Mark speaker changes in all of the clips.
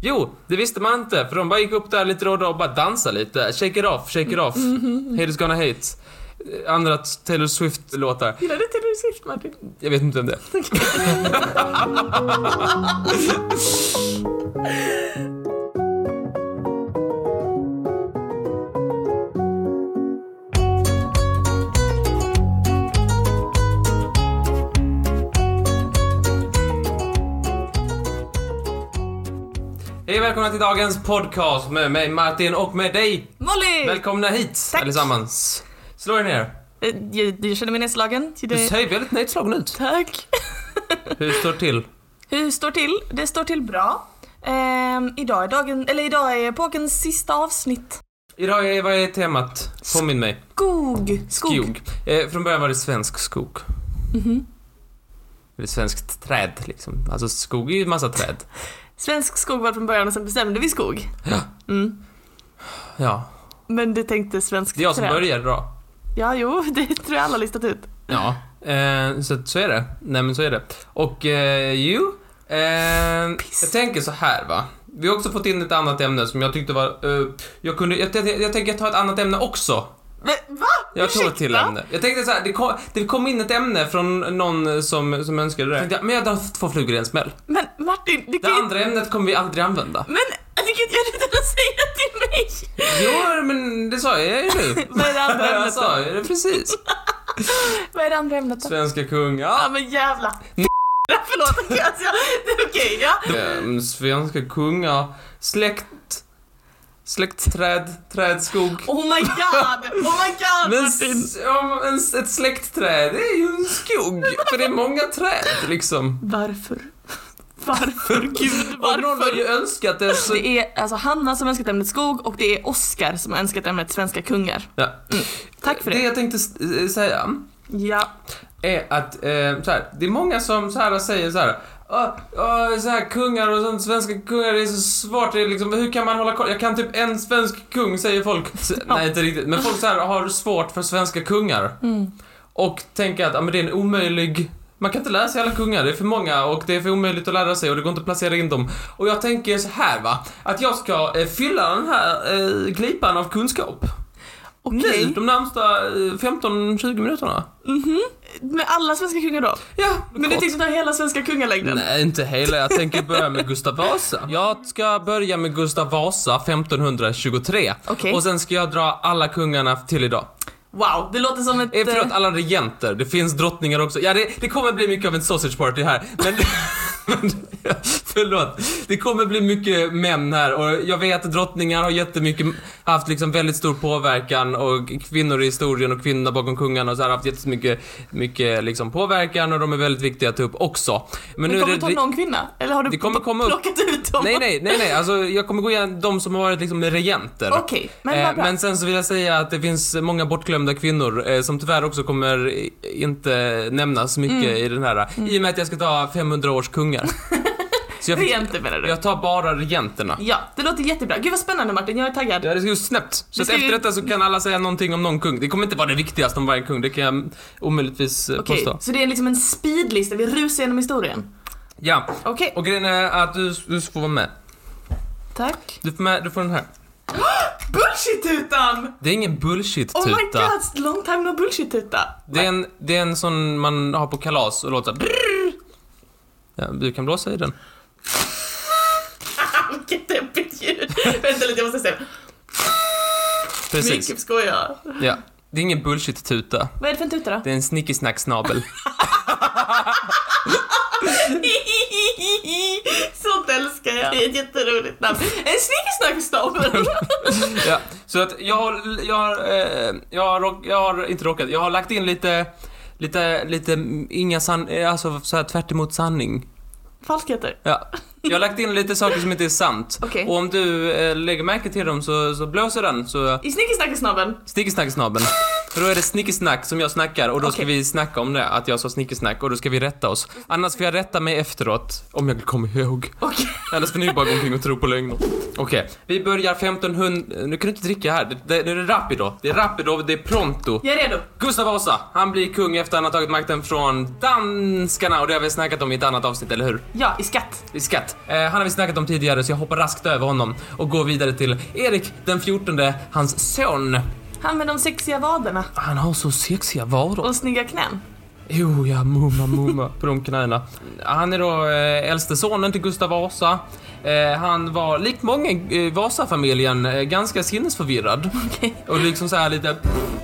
Speaker 1: Jo, det visste man inte. För de bara gick upp där lite då och då och bara dansade lite. Shake it off, shake it off. Haters gonna hate. Eh, Andra Taylor Swift-låtar.
Speaker 2: Gillar du Taylor Swift, Martin?
Speaker 1: Jag vet inte vem det är. Hej och välkomna till dagens podcast med mig Martin och med dig.
Speaker 2: Molly!
Speaker 1: Välkomna hit
Speaker 2: Tack.
Speaker 1: allesammans. Slå er ner.
Speaker 2: Eh, jag, jag känner mig nedslagen. till
Speaker 1: Du
Speaker 2: det.
Speaker 1: ser väldigt nedslagen ut.
Speaker 2: Tack.
Speaker 1: Hur står det till?
Speaker 2: Hur står till? Det står till bra. Ehm, idag är dagen, eller idag är epogens sista avsnitt.
Speaker 1: Idag är, vad är temat? Påminn mig.
Speaker 2: Skog. Skog.
Speaker 1: Skog. Eh, från början var det svensk skog.
Speaker 2: Mhm.
Speaker 1: Eller svenskt träd liksom. Alltså skog är ju en massa träd.
Speaker 2: Svensk skog var från början och sen bestämde vi skog.
Speaker 1: Ja.
Speaker 2: Mm.
Speaker 1: Ja.
Speaker 2: Men du tänkte svenskt
Speaker 1: Det är jag som
Speaker 2: träd.
Speaker 1: började då.
Speaker 2: Ja, jo, det tror jag alla listat ut.
Speaker 1: Ja. Eh, så, så är det. Nej men så är det. Och eh, jo. Eh, jag tänker så här va. Vi har också fått in ett annat ämne som jag tyckte var... Eh, jag kunde... Jag, jag, jag tänker ta ett annat ämne också.
Speaker 2: Men, va?
Speaker 1: Jag tog ett till
Speaker 2: Ursäkta?
Speaker 1: ämne. Jag tänkte så här, det kom, det kom in ett ämne från någon som, som önskade det. Tänkte jag, Men jag drar två flugor i en smäll.
Speaker 2: Men Martin, du
Speaker 1: Det
Speaker 2: kan ju inte...
Speaker 1: andra ämnet kommer vi aldrig använda.
Speaker 2: Men du kan ju inte säga till mig!
Speaker 1: Jo, men det sa jag ju nu.
Speaker 2: Vad är det andra
Speaker 1: Jag
Speaker 2: ämnet då?
Speaker 1: sa ju det precis.
Speaker 2: Vad är det andra ämnet då?
Speaker 1: Svenska
Speaker 2: Ja
Speaker 1: kungar.
Speaker 2: men jävla Förlåt, alltså, jag- det är okej ja.
Speaker 1: Ehm, Svenska kungar. Släkt. Släktträd. Trädskog.
Speaker 2: Oh my god, oh my god
Speaker 1: Men
Speaker 2: Martin.
Speaker 1: s- om en, ett släktträd, det är ju en skog. För det är många träd liksom.
Speaker 2: Varför? Varför gud,
Speaker 1: Och någon har
Speaker 2: varför?
Speaker 1: ju önskat det så...
Speaker 2: Det är alltså Hanna som önskat ämnet skog och det är Oscar som har önskat ämnet svenska kungar. Mm.
Speaker 1: Ja.
Speaker 2: Tack för
Speaker 1: Det
Speaker 2: det.
Speaker 1: jag tänkte s- eh, säga.
Speaker 2: Ja.
Speaker 1: är att eh, så här, det är många som så här säger så här. "Åh, åh, så här kungar och sånt, svenska kungar, det är så svårt. Det är liksom, hur kan man hålla koll? Jag kan typ en svensk kung, säger folk. S- Nej, inte riktigt. Men folk så här, har svårt för svenska kungar.
Speaker 2: Mm.
Speaker 1: Och tänker att ja, men det är en omöjlig... Man kan inte lära sig alla kungar, det är för många och det är för omöjligt att lära sig och det går inte att placera in dem. Och jag tänker så här va, att jag ska eh, fylla den här eh, glipan av kunskap.
Speaker 2: Okej.
Speaker 1: Nu, de närmsta eh, 15-20 minuterna.
Speaker 2: Mhm. Med alla svenska kungar då?
Speaker 1: Ja,
Speaker 2: Men du
Speaker 1: kort.
Speaker 2: tänkte ta hela svenska kungalängden?
Speaker 1: Nej, inte hela. Jag tänker börja med Gustav Vasa. Jag ska börja med Gustav Vasa 1523.
Speaker 2: Okej.
Speaker 1: Och sen ska jag dra alla kungarna till idag.
Speaker 2: Wow, det låter som ett...
Speaker 1: Eh, förlåt,
Speaker 2: eh,
Speaker 1: alla regenter. Det finns drottningar också. Ja, det, det kommer bli mycket av en sausage party här. Men... Förlåt. Det kommer bli mycket män här och jag vet att drottningar har jättemycket, haft liksom väldigt stor påverkan och kvinnor i historien och kvinnorna bakom kungarna och så här har haft jättemycket mycket liksom påverkan och de är väldigt viktiga att ta upp också. Men
Speaker 2: men
Speaker 1: är
Speaker 2: kommer du
Speaker 1: det-
Speaker 2: ta någon kvinna? Eller har du
Speaker 1: Det kommer komma upp.
Speaker 2: plockat ut dem?
Speaker 1: Nej, nej, nej, nej. Alltså, jag kommer gå igenom de som har varit liksom regenter.
Speaker 2: Okej, men
Speaker 1: Eh,
Speaker 2: vad bra.
Speaker 1: men sen så vill jag säga att det finns många bortglömda kvinnor eh, som tyvärr också kommer i- inte nämnas mycket
Speaker 2: Mm.
Speaker 1: i den här. eh, I och med att jag ska ta 500 års kungar. så jag,
Speaker 2: Regenter menar du?
Speaker 1: jag tar bara regenterna.
Speaker 2: Ja, det låter jättebra. Gud vad spännande Martin, jag är taggad.
Speaker 1: Ja, det ska ju snabbt. Så
Speaker 2: Det
Speaker 1: att
Speaker 2: ska ju-
Speaker 1: efter detta så kan alla säga någonting om någon kung. Det kommer inte vara det viktigaste om varje kung, det kan jag omöjligtvis eh,
Speaker 2: Okej,
Speaker 1: påstå.
Speaker 2: så det är liksom en speedlista, vi rusar genom historien.
Speaker 1: Ja,
Speaker 2: Okej,
Speaker 1: och grejen är att du, du får vara med.
Speaker 2: tack.
Speaker 1: Du får, med, du får den här.
Speaker 2: Bullshit-tutan!
Speaker 1: Det är ingen bullshit-tuta.
Speaker 2: Oh my god, long time no bullshit-tuta.
Speaker 1: Det är, en, det är en sån man har på kalas och låter brrrr. ja, Du kan blåsa i den.
Speaker 2: Vilket deppigt ljud. Vänta lite, jag måste se.
Speaker 1: Precis.
Speaker 2: Vilket skojar.
Speaker 1: Ja. Det är ingen bullshit-tuta.
Speaker 2: Vad är det för en tuta då?
Speaker 1: Det är en snickisnacksnabel.
Speaker 2: Sånt älskar jag. Det är ett jätteroligt namn. En snickesnackstabel.
Speaker 1: ja. Så att jag har, jag har, eh, jag har, rock- jag har inte råkat, jag har lagt in lite, lite, lite, mm, inga san, eh, alltså så här tvärt emot sanning.
Speaker 2: Falskheter.
Speaker 1: Ja. Jag har lagt in lite saker som inte är sant.
Speaker 2: Okej.
Speaker 1: Och om du eh, lägger märke till dem så, så blåser den så
Speaker 2: I snickesnackesnabeln.
Speaker 1: sticker snacksnabeln. För då är det snickesnack som jag snackar och då ska
Speaker 2: Okej.
Speaker 1: vi snacka om det, att jag sa snickesnack och då ska vi rätta oss. Annars får jag rätta mig efteråt, om jag kommer ihåg.
Speaker 2: Okej.
Speaker 1: Annars får ni bara gå omkring och tro på lögner. Okej, vi börjar 1500... Nu kan du inte dricka här. Det, det, nu är det Rapido. Det är Rapido, det är Pronto.
Speaker 2: Jag är redo.
Speaker 1: Gustav Vasa, han blir kung efter han har tagit makten från danskarna och det har vi snackat om i ett annat avsnitt, eller hur?
Speaker 2: Ja, i skatt.
Speaker 1: I skatt. Eh, han har vi snackat om tidigare så jag hoppar raskt över honom och går vidare till Erik den 14, hans son.
Speaker 2: Han med de sexiga vaderna
Speaker 1: Han har så sexiga varor.
Speaker 2: och snygga knän.
Speaker 1: Jo, ja, mumma, mumma på de knäna. Han är då eh, äldste sonen till Gustav Vasa. Eh, han var, likt många i Vasafamiljen, eh, ganska sinnesförvirrad. Och liksom så här lite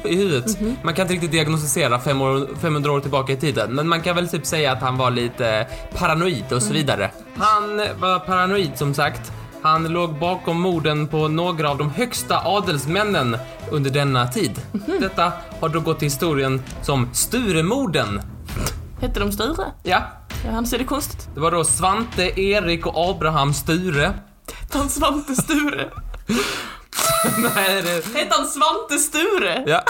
Speaker 1: i huvudet. Man kan inte riktigt diagnostisera fem år, 500 år tillbaka i tiden, men man kan väl typ säga att han var lite paranoid och så vidare. Han var paranoid som sagt. Han låg bakom morden på några av de högsta adelsmännen under denna tid. Detta har då gått till historien som Sturemorden.
Speaker 2: Hette de Sture?
Speaker 1: Ja,
Speaker 2: Ja, annars är det konstigt.
Speaker 1: det var då Svante, Erik och Abraham Sture.
Speaker 2: Hette han Svante Sture?
Speaker 1: Nej, det...
Speaker 2: Hette han Svante Sture?
Speaker 1: Ja.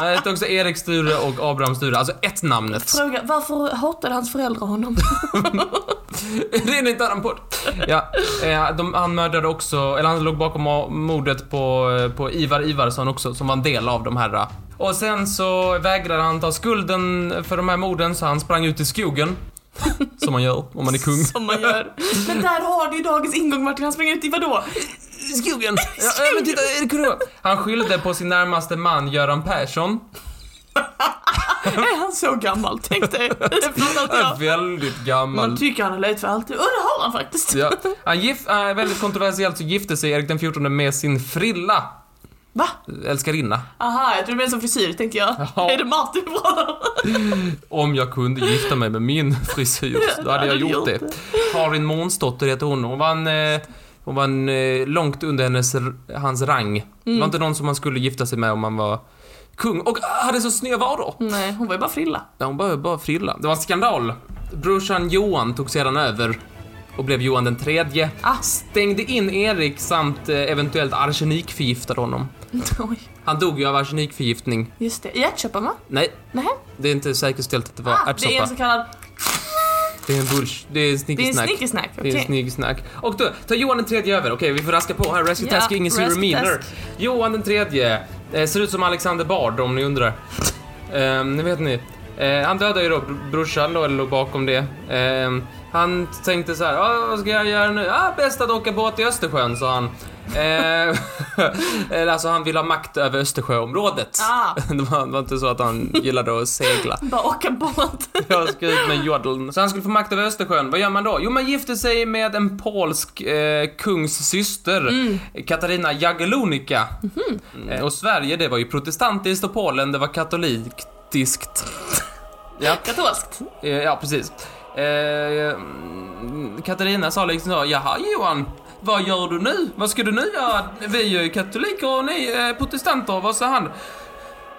Speaker 1: Nej, det är också Erik Sture och Abraham Sture, alltså ett namnet.
Speaker 2: Fråga, varför hatade hans föräldrar honom?
Speaker 1: Det är en helt annan podd. Ja, eh, de, han mördade också, eller han låg bakom mo- mordet på, eh, på Ivar Ivarsson också, som var en del av de här. eh. Och sen så vägrade han ta skulden för de här morden, så han sprang ut i skogen. Som man gör om man är kung.
Speaker 2: Som man gör. Men där har du ju dagens ingång Martin, han springer ut i vadå?
Speaker 1: Skogen! Ja, eh, men titta, Erik Kroa. Han skyllde på sin närmaste man Göran Persson.
Speaker 2: Är han så gammal? Tänk dig. Från att
Speaker 1: Ja.
Speaker 2: jag-
Speaker 1: Väldigt gammal.
Speaker 2: Man tycker han har levt för alltid. Och det har han faktiskt.
Speaker 1: Ja. Han gift, eh, väldigt kontroversiellt så gifte sig Erik den 14 med sin frilla,
Speaker 2: Va?
Speaker 1: älskarinna.
Speaker 2: Aha, jag trodde det var en sån frisyr tänkte jag.
Speaker 1: Ja.
Speaker 2: Är det Martin bra?
Speaker 1: Om jag kunde gifta mig med min frisyr, då hade jag gjort det. Karin Månsdotter heter hon. Hon var en, eh, hon var en eh, långt under hennes, hans rang. Det var inte någon som man skulle gifta sig med om man var kung. Och ah, hade så snygga varor!
Speaker 2: Nej, hon var ju bara frilla.
Speaker 1: Ja, hon bara, bara frilla. Det var en skandal. Brorsan Johan tog sedan över och blev Johan den tredje.
Speaker 2: Ah.
Speaker 1: Stängde in Erik samt eh, eventuellt arsenikförgiftade honom.
Speaker 2: Oj,
Speaker 1: Han dog ju av arsenikförgiftning.
Speaker 2: just det. I ärtsoppan va?
Speaker 1: Nej,
Speaker 2: Nej.
Speaker 1: det är inte säkerställt att det var
Speaker 2: Ah, det är
Speaker 1: ärtsoppa.
Speaker 2: en så kallad...
Speaker 1: Det är en bullsh... Det är en
Speaker 2: Det är en
Speaker 1: snickesnack.
Speaker 2: snickersnack.
Speaker 1: Det är
Speaker 2: Okej.
Speaker 1: en snygg snack. Och då tar Johan den tredje över. Okej, vi får raska på här. Rescue
Speaker 2: Ja,
Speaker 1: Task är ingen Zero
Speaker 2: Rescue
Speaker 1: Meaner.
Speaker 2: Task.
Speaker 1: Johan den tredje. Eh, ser ut som Alexander Bard om ni undrar. Ehm, nu vet ni. Eh, han dödade ju då br- brorsan då, eller låg bakom det. Ehm, han tänkte så här, "Ah, vad ska jag göra nu? Ah, bäst att åka båt i Östersjön, sa han. Ehm, eller alltså han vill ha makt över Östersjöområdet.
Speaker 2: Ah.
Speaker 1: Det var, det var inte så att han gillade att segla.
Speaker 2: Bara åka båt.
Speaker 1: Jag ska ut med jodeln. Så han skulle få makt över Östersjön. Vad gör man då? Jo, man gifter sig med en polsk eh, kungs syster, Katarina Jagellonica. Eh, och Sverige, det var ju protestantiskt och Polen, det var katolitiskt. ja,
Speaker 2: Katolskt.
Speaker 1: eh, ja, precis. Eh, mm, Katarina sa liksom så, jaha Johan, vad gör du nu? Vad ska du nu göra? Vi är ju katoliker och ni är protestanter. Vad sa han?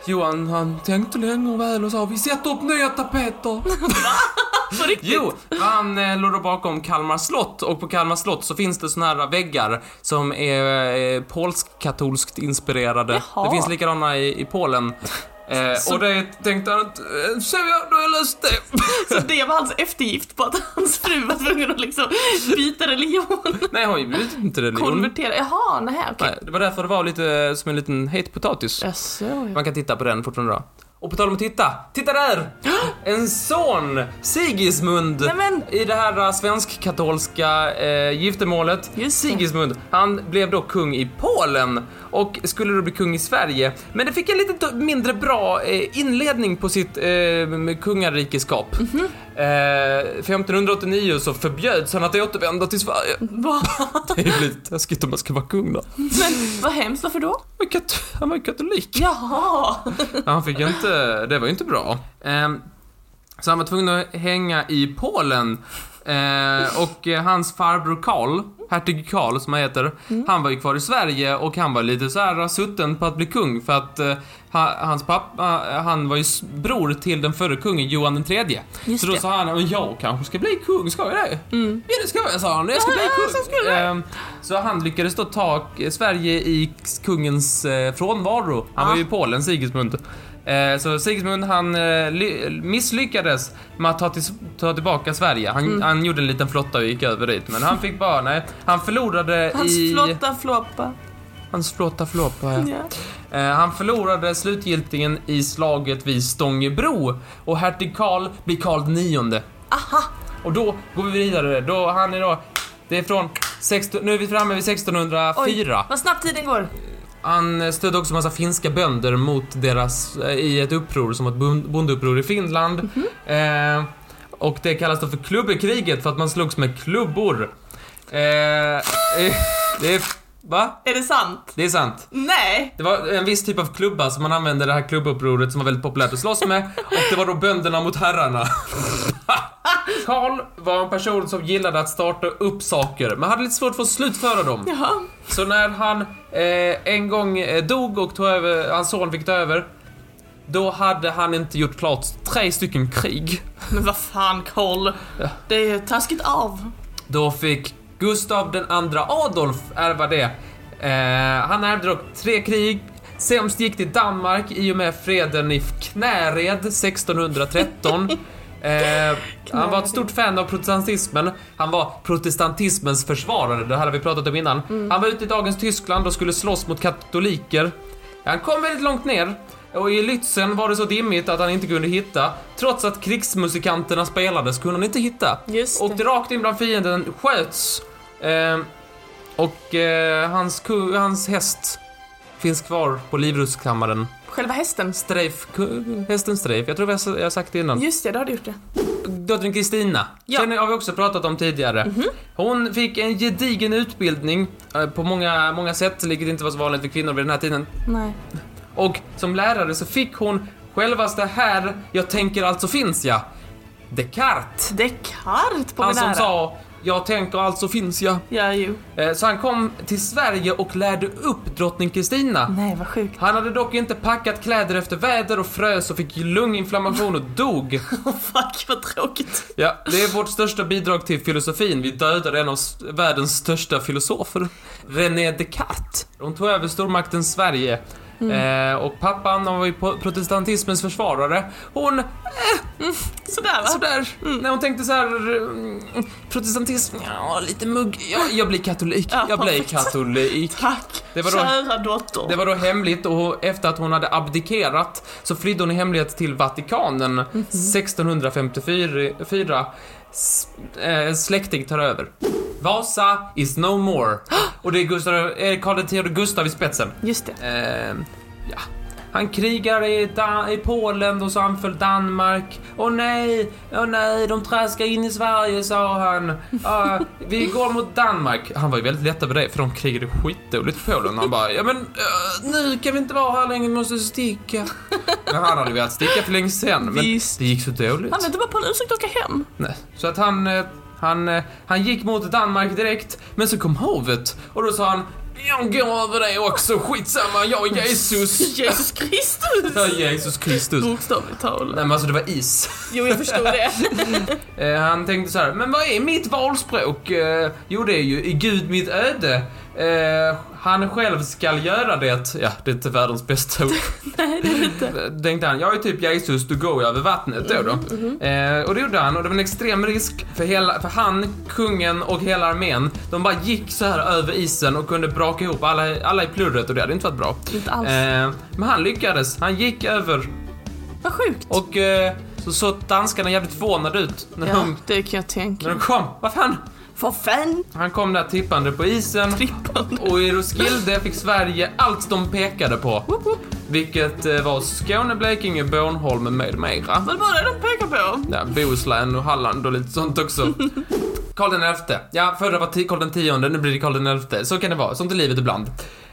Speaker 1: Johan, han tänkte länge och väl och sa, vi sätter upp nya tapeter.
Speaker 2: På riktigt.
Speaker 1: Jo, han eh, låg då bakom Kalmar slott och på Kalmar slott så finns det såna här väggar som är eh, polsk-katolskt inspirerade.
Speaker 2: Jaha.
Speaker 1: Det finns likadana i, i Polen. Eh,
Speaker 2: Så-
Speaker 1: Och det tänkte han att, eh, ser jag, då har jag löst det.
Speaker 2: Så det var hans eftergift på att hans fru var tvungen att liksom byta religion.
Speaker 1: Nej, hon bytte inte religion.
Speaker 2: Konvertera. Jaha, nej okej.
Speaker 1: Nej, det var därför det var lite eh, som en liten het potatis.
Speaker 2: Jaså, ja.
Speaker 1: Man kan titta på den fortfarande då. Och på tal om att titta, titta där! En son, Sigismund!
Speaker 2: Nej, men-
Speaker 1: I det här eh, svensk-katolska eh, giftermålet.
Speaker 2: Just det.
Speaker 1: Sigismund, han blev då kung i Polen och skulle då bli kung i Sverige. Men det fick en lite t- mindre bra eh, inledning på sitt eh, m- kungarikeskap.
Speaker 2: Mhm.
Speaker 1: Eh, 1589 så förbjöds han att återvända till Sverige.
Speaker 2: Va?
Speaker 1: Det är ju lite taskigt om man ska vara kung då.
Speaker 2: Men vad hemskt, varför då?
Speaker 1: Men kat- Han var ju katolik.
Speaker 2: Jaha.
Speaker 1: Ja, han fick ju inte, det var ju inte bra. Ehm, så han var tvungen att hänga i Polen. Eh, och eh, hans farbror Karl, hertig Karl som han heter,
Speaker 2: Mm.
Speaker 1: han var ju kvar i Sverige och han var lite så här sutten på att bli kung för att eh, ha- hans pappa, eh, han var ju s- bror till den förre kungen Johan den tredje.
Speaker 2: Just
Speaker 1: så då
Speaker 2: det. Mm.
Speaker 1: sa han, "Men jag kanske ska bli kung, ska jag det? Ja det ska jag, sa han, jag ska bli
Speaker 2: Ja,
Speaker 1: kung.
Speaker 2: så skulle jag.
Speaker 1: Ehm, så han lyckades då ta eh, Sverige i kungens eh, frånvaro. Han var
Speaker 2: Ja.
Speaker 1: ju i Polen, Sigismund. Eh, Så Sigismund han eh, ly- misslyckades med att ta, till, ta tillbaka Sverige. Han,
Speaker 2: Mm.
Speaker 1: han gjorde en liten flotta och gick över dit. Men han fick bara, nej, han förlorade
Speaker 2: Hans
Speaker 1: i...
Speaker 2: flotta floppa.
Speaker 1: Hans flotta floppa, ja.
Speaker 2: Ja.
Speaker 1: Eh, Han förlorade slutgiltigen i slaget vid Stångebro och hertig Karl blir Karl IX.
Speaker 2: Aha!
Speaker 1: Och då går vi vidare. Då, han är då, det är från 16, nu är vi framme vid 1604.
Speaker 2: vad snabbt tiden går.
Speaker 1: Han eh, stödde också massa finska bönder mot deras, eh, i ett uppror som var ett bond- bondeuppror i Finland. Eh, och det kallas då för klubbekriget för att man slogs med klubbor. Eh, eh, det är, va?
Speaker 2: Är det sant?
Speaker 1: Det är sant.
Speaker 2: Nej!
Speaker 1: Det var en viss typ av klubba som man använde det här klubbupproret som var väldigt populärt att slåss med och det var då bönderna mot herrarna. Karl var en person som gillade att starta upp saker men hade lite svårt för att slutföra dem.
Speaker 2: Jaha.
Speaker 1: Så när han eh, en gång eh, dog och tog över, hans son fick ta över då hade han inte gjort klart tre stycken krig.
Speaker 2: Men vad fan Karl? Det är ju taskigt av.
Speaker 1: Då fick Gustav den andra Adolf ärva det. Eh, han ärvde dock tre krig. Sämst gick det i Danmark i och med freden i Knäred 1613. Eh, han var ett stort fan av protestantismen. Han var protestantismens försvarare, det här har vi pratat om innan. Han var ute i dagens Tyskland och skulle slåss mot katoliker. Han kom väldigt långt ner och i Lützen var det så dimmigt att han inte kunde hitta. Trots att krigsmusikanterna spelades kunde han inte hitta.
Speaker 2: Just det.
Speaker 1: och åkte rakt in bland fienden, sköts. Eh, och eh, hans, ku- hans häst finns kvar på livrustkammaren.
Speaker 2: Själva hästen.
Speaker 1: Streif, ku- hästen Streif, jag tror vi har- jag har sagt det innan.
Speaker 2: Just det, då har du gjort det.
Speaker 1: Dottern Kristina,
Speaker 2: Ja. Mhm.
Speaker 1: den har vi också pratat om tidigare. Hon fick en gedigen utbildning eh, på många, många sätt, vilket inte var så vanligt för kvinnor vid den här tiden.
Speaker 2: Nej.
Speaker 1: Och som lärare så fick hon självaste här, jag tänker alltså finns jag, Descartes.
Speaker 2: Descartes på
Speaker 1: Han
Speaker 2: min
Speaker 1: som
Speaker 2: ära.
Speaker 1: sa, jag tänker alltså finns jag.
Speaker 2: Ja, jo.
Speaker 1: Eh, Så han kom till Sverige och lärde upp drottning Kristina.
Speaker 2: Nej, vad sjukt.
Speaker 1: Han hade dock inte packat kläder efter väder och frös och fick lunginflammation och dog.
Speaker 2: Åh fuck, vad tråkigt.
Speaker 1: Ja, det är vårt största bidrag till filosofin. Vi dödar en av s- världens största filosofer, René Descartes. De tog över stormakten Sverige.
Speaker 2: Mm.
Speaker 1: Eh, och pappan han var ju po- protestantismens försvarare. Hon,
Speaker 2: Sådär va?
Speaker 1: sådär,
Speaker 2: Ah, mm.
Speaker 1: när hon tänkte så här, mm, protestantism, ja, lite mugg, jag, jag blir katolik,
Speaker 2: Ja,
Speaker 1: jag blir
Speaker 2: perfekt.
Speaker 1: katolik.
Speaker 2: Tack,
Speaker 1: Det var då-
Speaker 2: kära dotter.
Speaker 1: Det var då hemligt och efter att hon hade abdikerat så flydde hon i hemlighet till Vatikanen 1654. S- eh, släkting tar över. Vasa is no more. Och det är Gustav, eh, Karl X och Gustav i spetsen.
Speaker 2: Just det.
Speaker 1: Eh, ja. Han krigar i, Dan- i Polen och så anföll Danmark. Åh nej, åh nej, de traskar in i Sverige sa han. Ah, vi går mot Danmark. Han var ju väldigt lätt över det för de krigade skitdåligt i Polen. Han bara, ja men eh, nu kan vi inte vara här längre, vi måste sticka. Men han hade ju velat sticka för länge sedan. Men
Speaker 2: Visst.
Speaker 1: det gick så dåligt.
Speaker 2: Han väntar bara på en ursäkt att åka hem.
Speaker 1: Nej. Så att han, eh, han, eh, han gick mot Danmark direkt, men så kom hovet och då sa han jag går över det också, skitsamma, jag är Jesus.
Speaker 2: Jesus Mm. Kristus!
Speaker 1: Ja, Jesus Kristus. Nej
Speaker 2: Bokstavligt talat.
Speaker 1: men alltså det var is.
Speaker 2: Jo, jag förstod det.
Speaker 1: Eh, han tänkte så här, men vad är mitt valspråk? Eh, jo det är ju i Gud mitt öde. Eh, han själv skall göra det. Ja, det är inte världens bästa ord.
Speaker 2: Nej, det är inte. Mm-hmm,
Speaker 1: Eh, tänkte han, jag är typ Jesus, du går jag över vattnet då. då. Eh, och det gjorde han och det var en extrem risk för, hela, för han, kungen och hela armén. De bara gick så här över isen och kunde braka ihop alla, alla i plurret och det hade inte varit bra.
Speaker 2: Inte alls.
Speaker 1: Eh, men han lyckades, han gick över
Speaker 2: Vad sjukt.
Speaker 1: och eh, så såg danskarna jävligt förvånade ut när,
Speaker 2: Ja,
Speaker 1: de,
Speaker 2: det kan jag
Speaker 1: när
Speaker 2: tänka.
Speaker 1: de kom. Vad fan?
Speaker 2: För fan!
Speaker 1: Han kom där tippande på isen
Speaker 2: Trippande.
Speaker 1: och i Roskilde fick Sverige allt de pekade på.
Speaker 2: Woop, woop.
Speaker 1: Vilket eh, var Skåne, Blekinge, Bornholm med mera.
Speaker 2: Var det bara det de pekar på?
Speaker 1: Ja, Bohuslän och Halland och lite sånt också. Karl den elfte. Ja, förra var ti- Karl den tionde, nu blir det Karl den elfte. Så kan det vara, sånt är livet ibland.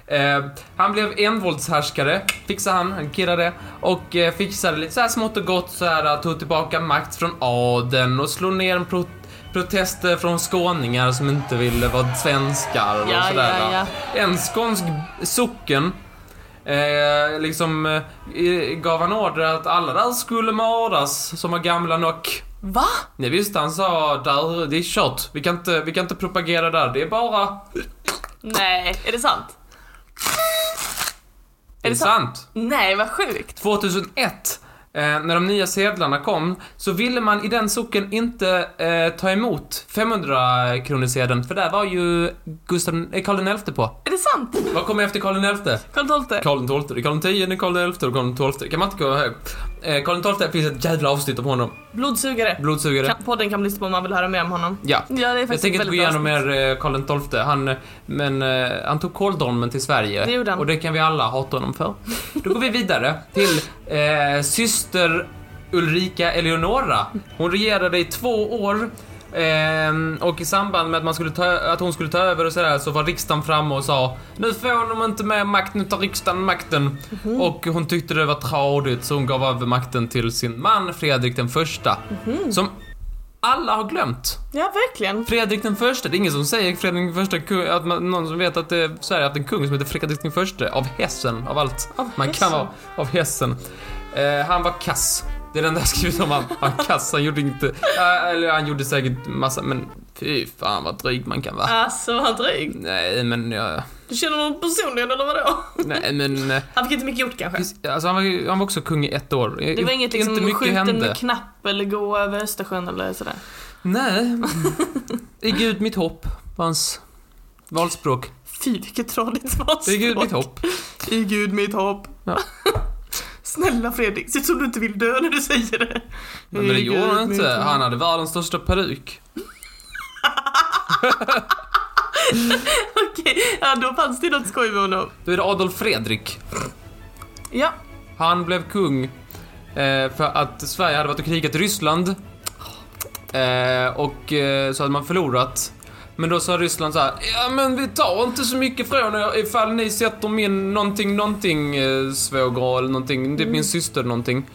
Speaker 1: Eh, han blev envåldshärskare, fixade han, han kirrade och eh, fixade lite så här smått och gott så här, tog tillbaka makt från adeln och slog ner en pro- protester från skåningar som inte ville vara svenskar och
Speaker 2: Ja,
Speaker 1: sådär.
Speaker 2: ja,
Speaker 1: va. En skånsk socken Eh, liksom eh, gav han order att alla där skulle mördas som var gamla nog.
Speaker 2: Va?
Speaker 1: Nej visst, han sa där, det är kört. Vi kan inte, vi kan inte propagera där. Det är bara...
Speaker 2: Nej, är det sant?
Speaker 1: Det är sant.
Speaker 2: Nej, vad sjukt.
Speaker 1: 2001 eh, när de nya sedlarna kom så ville man i den socken inte eh, ta emot 500 kronosedeln för där var ju Gustav, eh, Karl XI på.
Speaker 2: Är det sant?
Speaker 1: Vad kom efter Karl XI?
Speaker 2: Karl XII.
Speaker 1: Karl XII, Karl X, Karl XI och Karl XII. Kan man inte gå hög? Eh, Karl XII, det finns ett jävla avsnitt om honom.
Speaker 2: Blodsugare.
Speaker 1: Blodsugare.
Speaker 2: Kan, podden kan man lyssna på om man vill höra mer om honom.
Speaker 1: Ja.
Speaker 2: Ja, det är
Speaker 1: Jag
Speaker 2: faktiskt
Speaker 1: tänker inte gå
Speaker 2: väldigt
Speaker 1: igenom
Speaker 2: bra.
Speaker 1: mer eh, Karl XII. Han, eh, men, eh, han tog kåldolmen till Sverige.
Speaker 2: Det gjorde han.
Speaker 1: Och det kan vi alla hata honom för. Då går vi vidare till eh, syster Ulrika Eleonora. Hon regerade i två år. ehm, och i samband med att, man skulle ta, att hon skulle ta över och sådär så var riksdagen framme och sa Nu får de inte mer makt, nu tar riksdagen makten.
Speaker 2: Mhm.
Speaker 1: Och hon tyckte det var tradigt så hon gav över makten till sin man Fredrik den första.
Speaker 2: Mhm.
Speaker 1: Som alla har glömt.
Speaker 2: Ja, verkligen.
Speaker 1: Fredrik den första, det är ingen som säger Fredrik den första, kung- att man, någon som vet att det är Sverige haft en kung som heter Fredrik den första av Hessen, av allt.
Speaker 2: Av
Speaker 1: man
Speaker 2: Hessen.
Speaker 1: kan vara av Hessen. Eh, han var kass. Det är den där skrivet om han, han var kass, han gjorde inte, eh, eller han gjorde säkert massa, men fy fan vad dryg man kan vara.
Speaker 2: Alltså, vad dryg.
Speaker 1: Nej men, jag,
Speaker 2: Du känner honom personligen eller vadå?
Speaker 1: nej men, eh,
Speaker 2: Han fick inte mycket gjort kanske.
Speaker 1: alltså han var, ju- han var också kung i ett år.
Speaker 2: Det var inget liksom skjuten med knapp eller gå över Östersjön eller sådär.
Speaker 1: Nej. I Gud mitt hopp, var hans valspråk.
Speaker 2: Fy vilket tradigt svar.
Speaker 1: I Gud mitt hopp.
Speaker 2: I Gud mitt hopp.
Speaker 1: Ja.
Speaker 2: Snälla Fredrik, ser ut som du inte vill dö när du säger det.
Speaker 1: Men det
Speaker 2: I
Speaker 1: gjorde
Speaker 2: Gud
Speaker 1: han
Speaker 2: mitt
Speaker 1: inte.
Speaker 2: hopp.
Speaker 1: Han hade världens största peruk.
Speaker 2: Okej, ja, då fanns det något skoj med honom.
Speaker 1: Då är det Adolf Fredrik.
Speaker 2: Ja,
Speaker 1: Han blev kung eh, för att Sverige hade varit och krigat i Ryssland. Eh, och eh, så hade man förlorat. Men då sa Ryssland så här, ja men vi tar inte så mycket från er ifall ni sätter min någonting, någonting eh, svåger eller någonting, det är min syster någonting.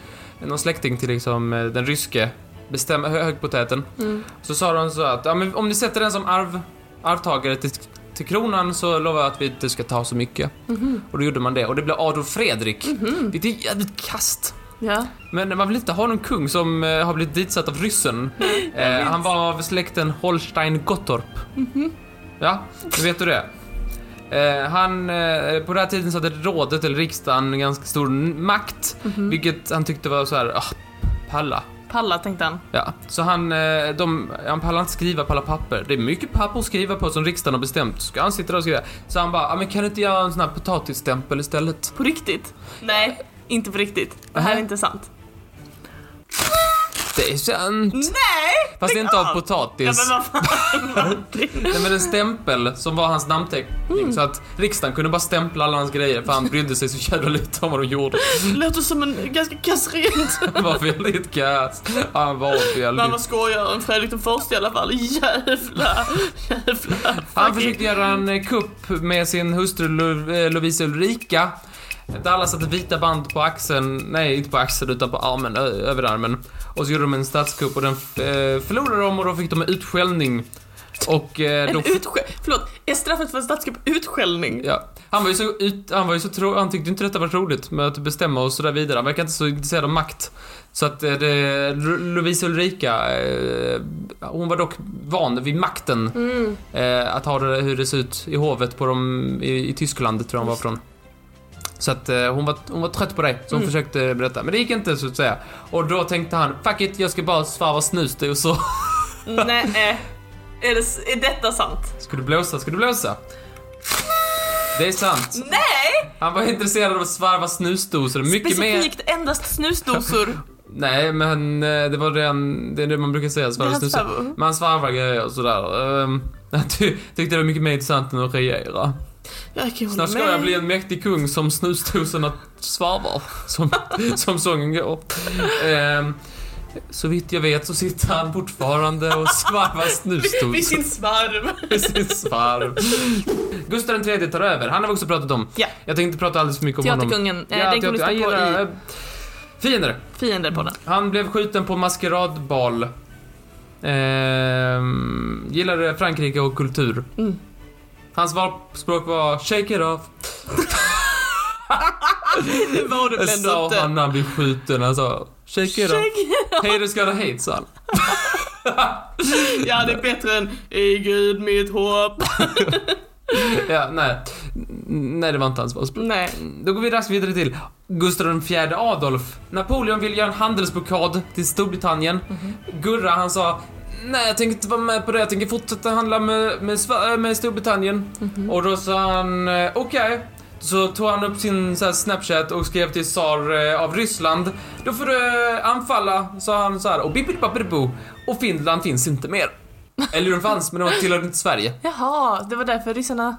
Speaker 1: Någon släkting till liksom eh, den ryske bestäm- hö- högpotäten.
Speaker 2: Mm.
Speaker 1: Så sa de så att, ja men om ni sätter den som arv, arvtagare till, till kronan så lovar jag att vi inte ska ta så mycket. Och då gjorde man det och det blev Adolf Fredrik. Det är jävligt kast.
Speaker 2: ja.
Speaker 1: Men man vill inte ha någon kung som eh, har blivit ditsatt av ryssen. Eh, han var av släkten Holstein-Gottorp. Ja, nu vet du det. Eh, han, eh, på den här tiden så hade rådet, eller riksdagen, en ganska stor n- makt. Vilket han tyckte var så här, ah, palla.
Speaker 2: Palla tänkte han.
Speaker 1: Ja, så han, eh, de, han pallar inte skriva på alla papper. Det är mycket papper att skriva på som riksdagen har bestämt. Ska han sitta där och skriva? Så han bara, ah, men kan du inte göra en sån här potatisstämpel istället?
Speaker 2: På riktigt? Nej, inte på riktigt. Det här är
Speaker 1: Nähä.
Speaker 2: inte sant.
Speaker 1: Det är sant.
Speaker 2: Nej!
Speaker 1: Fast det är inte av potatis.
Speaker 2: Ja men vad fan Martin.
Speaker 1: Nej men en stämpel som var hans namnteckning
Speaker 2: Mm.
Speaker 1: så att riksdagen kunde bara stämpla alla hans grejer för han brydde sig så jävla lite om vad de gjorde.
Speaker 2: Låter som en ganska kass regent.
Speaker 1: Han var väldigt kass. Han var
Speaker 2: Men
Speaker 1: väldigt...
Speaker 2: vad skojare än Fredrik den första i alla fall. Jävla, jävla.
Speaker 1: Han försökte göra en eh, kupp med sin hustru Lu- eh, Lovisa Ulrika. Där alla satte vita band på axeln, nej inte på axeln utan på armen, ö- över armen. Och så gjorde de en statskupp och den eh, förlorade de och då fick de en utskällning. Och eh,
Speaker 2: En
Speaker 1: då
Speaker 2: utskäll... Förlåt, är straffet för en statskupp utskällning?
Speaker 1: Ja. Han var ju så, ut, han var ju så tro, han tyckte inte detta var roligt med att bestämma och sådär vidare. Han verkar inte så intresserad av makt. Så att eh, det, Lo- Lovisa Ulrika, eh, hon var dock van vid makten. Eh, att ha det, hur det ser ut i hovet på dem, i, i Tyskland tror jag hon var från. Så att eh, hon, var, hon var trött på det, så hon försökte berätta. Men det gick inte så att säga. Och då tänkte han, fuck it, jag ska bara svarva snus det och så.
Speaker 2: Nej. Är, det, är detta sant?
Speaker 1: Ska du blåsa, ska du blåsa? Det är sant.
Speaker 2: Nej!
Speaker 1: Han var intresserad av att svarva snusdosor mycket mer.
Speaker 2: Specifikt endast snusdosor.
Speaker 1: Nej, men eh, det var den, det är det man brukar säga,
Speaker 2: Det är
Speaker 1: svarva
Speaker 2: hans
Speaker 1: snusdosor.
Speaker 2: favorit.
Speaker 1: Man svarvar grejer och sådär. Ehm, jag ty- tyckte det var mycket mer intressant än att regera.
Speaker 2: Jag kan hålla
Speaker 1: Snart ska
Speaker 2: med.
Speaker 1: jag bli en mäktig kung som snusdosorna svarvar, som, som sången går. Ehm, så vitt jag vet så sitter han fortfarande och svarvar snusdosor.
Speaker 2: Vid sin svarv.
Speaker 1: Precis, svarv. Gustav III tar över, han har vi också pratat om.
Speaker 2: Ja.
Speaker 1: Jag tänkte prata alldeles för mycket om honom.
Speaker 2: Teaterkungen. Eh, den kan du
Speaker 1: jag-
Speaker 2: lyssna
Speaker 1: jag
Speaker 2: på
Speaker 1: gillar-
Speaker 2: i
Speaker 1: Fiender.
Speaker 2: Fiender på den.
Speaker 1: Han blev skjuten på maskeradbal. Ehm, gillade Frankrike och kultur.
Speaker 2: Mm.
Speaker 1: Hans valspråk var “Shake it off”.
Speaker 2: Det var det
Speaker 1: Det
Speaker 2: väl ändå
Speaker 1: sa
Speaker 2: inte?
Speaker 1: han när han blev skjuten. Han sa “Shake it off”. Haters gotta hate, sa han.
Speaker 2: Ja, det är bättre än I Gud mitt hopp.
Speaker 1: Ja, nej. Nej, det var inte hans valspråk.
Speaker 2: Nej.
Speaker 1: Då går vi raskt vidare till Gustav IV Adolf. Napoleon ville göra en handelsblockad till Storbritannien. Gurra, han sa Nej, jag tänker inte vara med på det. Jag tänker fortsätta handla med, med, Sver- med Storbritannien. Och då sa han eh, okej. Så tog han upp sin så här, Snapchat och skrev till tsar eh, av Ryssland. Då får du eh, anfalla, sa han så här. Och bippidi Och Finland finns inte mer. Eller de fanns, men de tillhörde inte Sverige.
Speaker 2: Jaha, det var därför ryssarna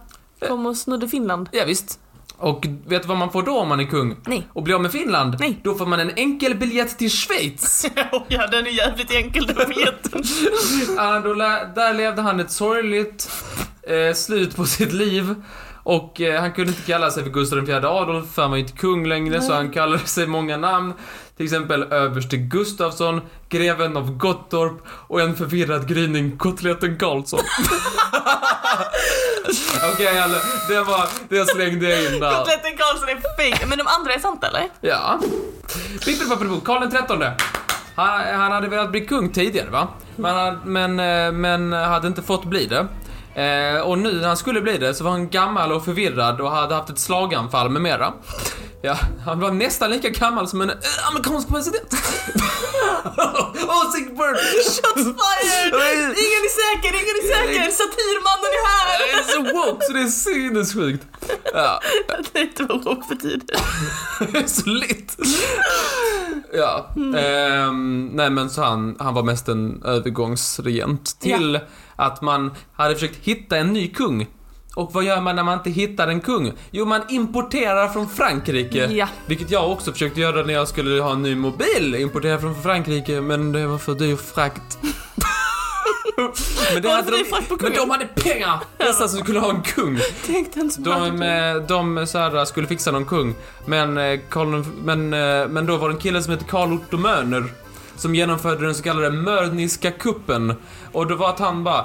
Speaker 2: kom och snodde Finland.
Speaker 1: Ja, visst. Och vet du vad man får då om man är kung?
Speaker 2: Nej.
Speaker 1: Och blir av med Finland?
Speaker 2: Nej.
Speaker 1: Då får man en enkel biljett till Schweiz.
Speaker 2: ja, den är jävligt enkel, den biljetten.
Speaker 1: Ah, då lä- där levde han ett sorgligt eh, slut på sitt liv. Och eh, han kunde inte kalla sig för Gustav IV Adolf, för han var ju inte kung längre, så han kallade sig många namn. Till exempel överste Gustafsson, greven av Gottorp och en förvirrad gryning, kotletten Karlsson. Okej, Kalle, det var, det slängde jag in där.
Speaker 2: Kotletten Karlsson är fake. Men de andra är sant eller?
Speaker 1: Ja. Bippelpappelbo, Karl den trettonde. Han, han hade velat bli kung tidigare va? Men, han- men, eh, men hade inte fått bli det. Eh, och nu när han skulle bli det så var han gammal och förvirrad och hade haft ett slaganfall med mera. Ja, han var nästan lika gammal som en eh, amerikansk president. oh, sick bird!
Speaker 2: Shots fired! Ingen är säker, ingen är säker! Satirmannen är här!
Speaker 1: Jag är så woke så det är sinnessjukt. Ja.
Speaker 2: Det är inte vad woke betyder.
Speaker 1: så litt. Ja.
Speaker 2: Mm.
Speaker 1: Ehm, nej men så han, han var mest en övergångsregent till att man hade försökt hitta en ny kung. Och vad gör man när man inte hittar en kung? Jo, man importerar från Frankrike.
Speaker 2: Ja.
Speaker 1: Vilket jag också försökte göra när jag skulle ha en ny mobil. Importera från Frankrike, men det var för dyr frakt. men, det
Speaker 2: Varför
Speaker 1: hade
Speaker 2: dyr frakt på
Speaker 1: men
Speaker 2: kungen?
Speaker 1: de hade pengar! Dessa som skulle ha en kung.
Speaker 2: Tänkte inte på
Speaker 1: De,
Speaker 2: det.
Speaker 1: eh, de så här, skulle fixa någon kung, men, eh, Karl, men, eh, men då var det en kille som hette Karl Otto Mörner som genomförde den så kallade Mörniska kuppen. Och det var att han bara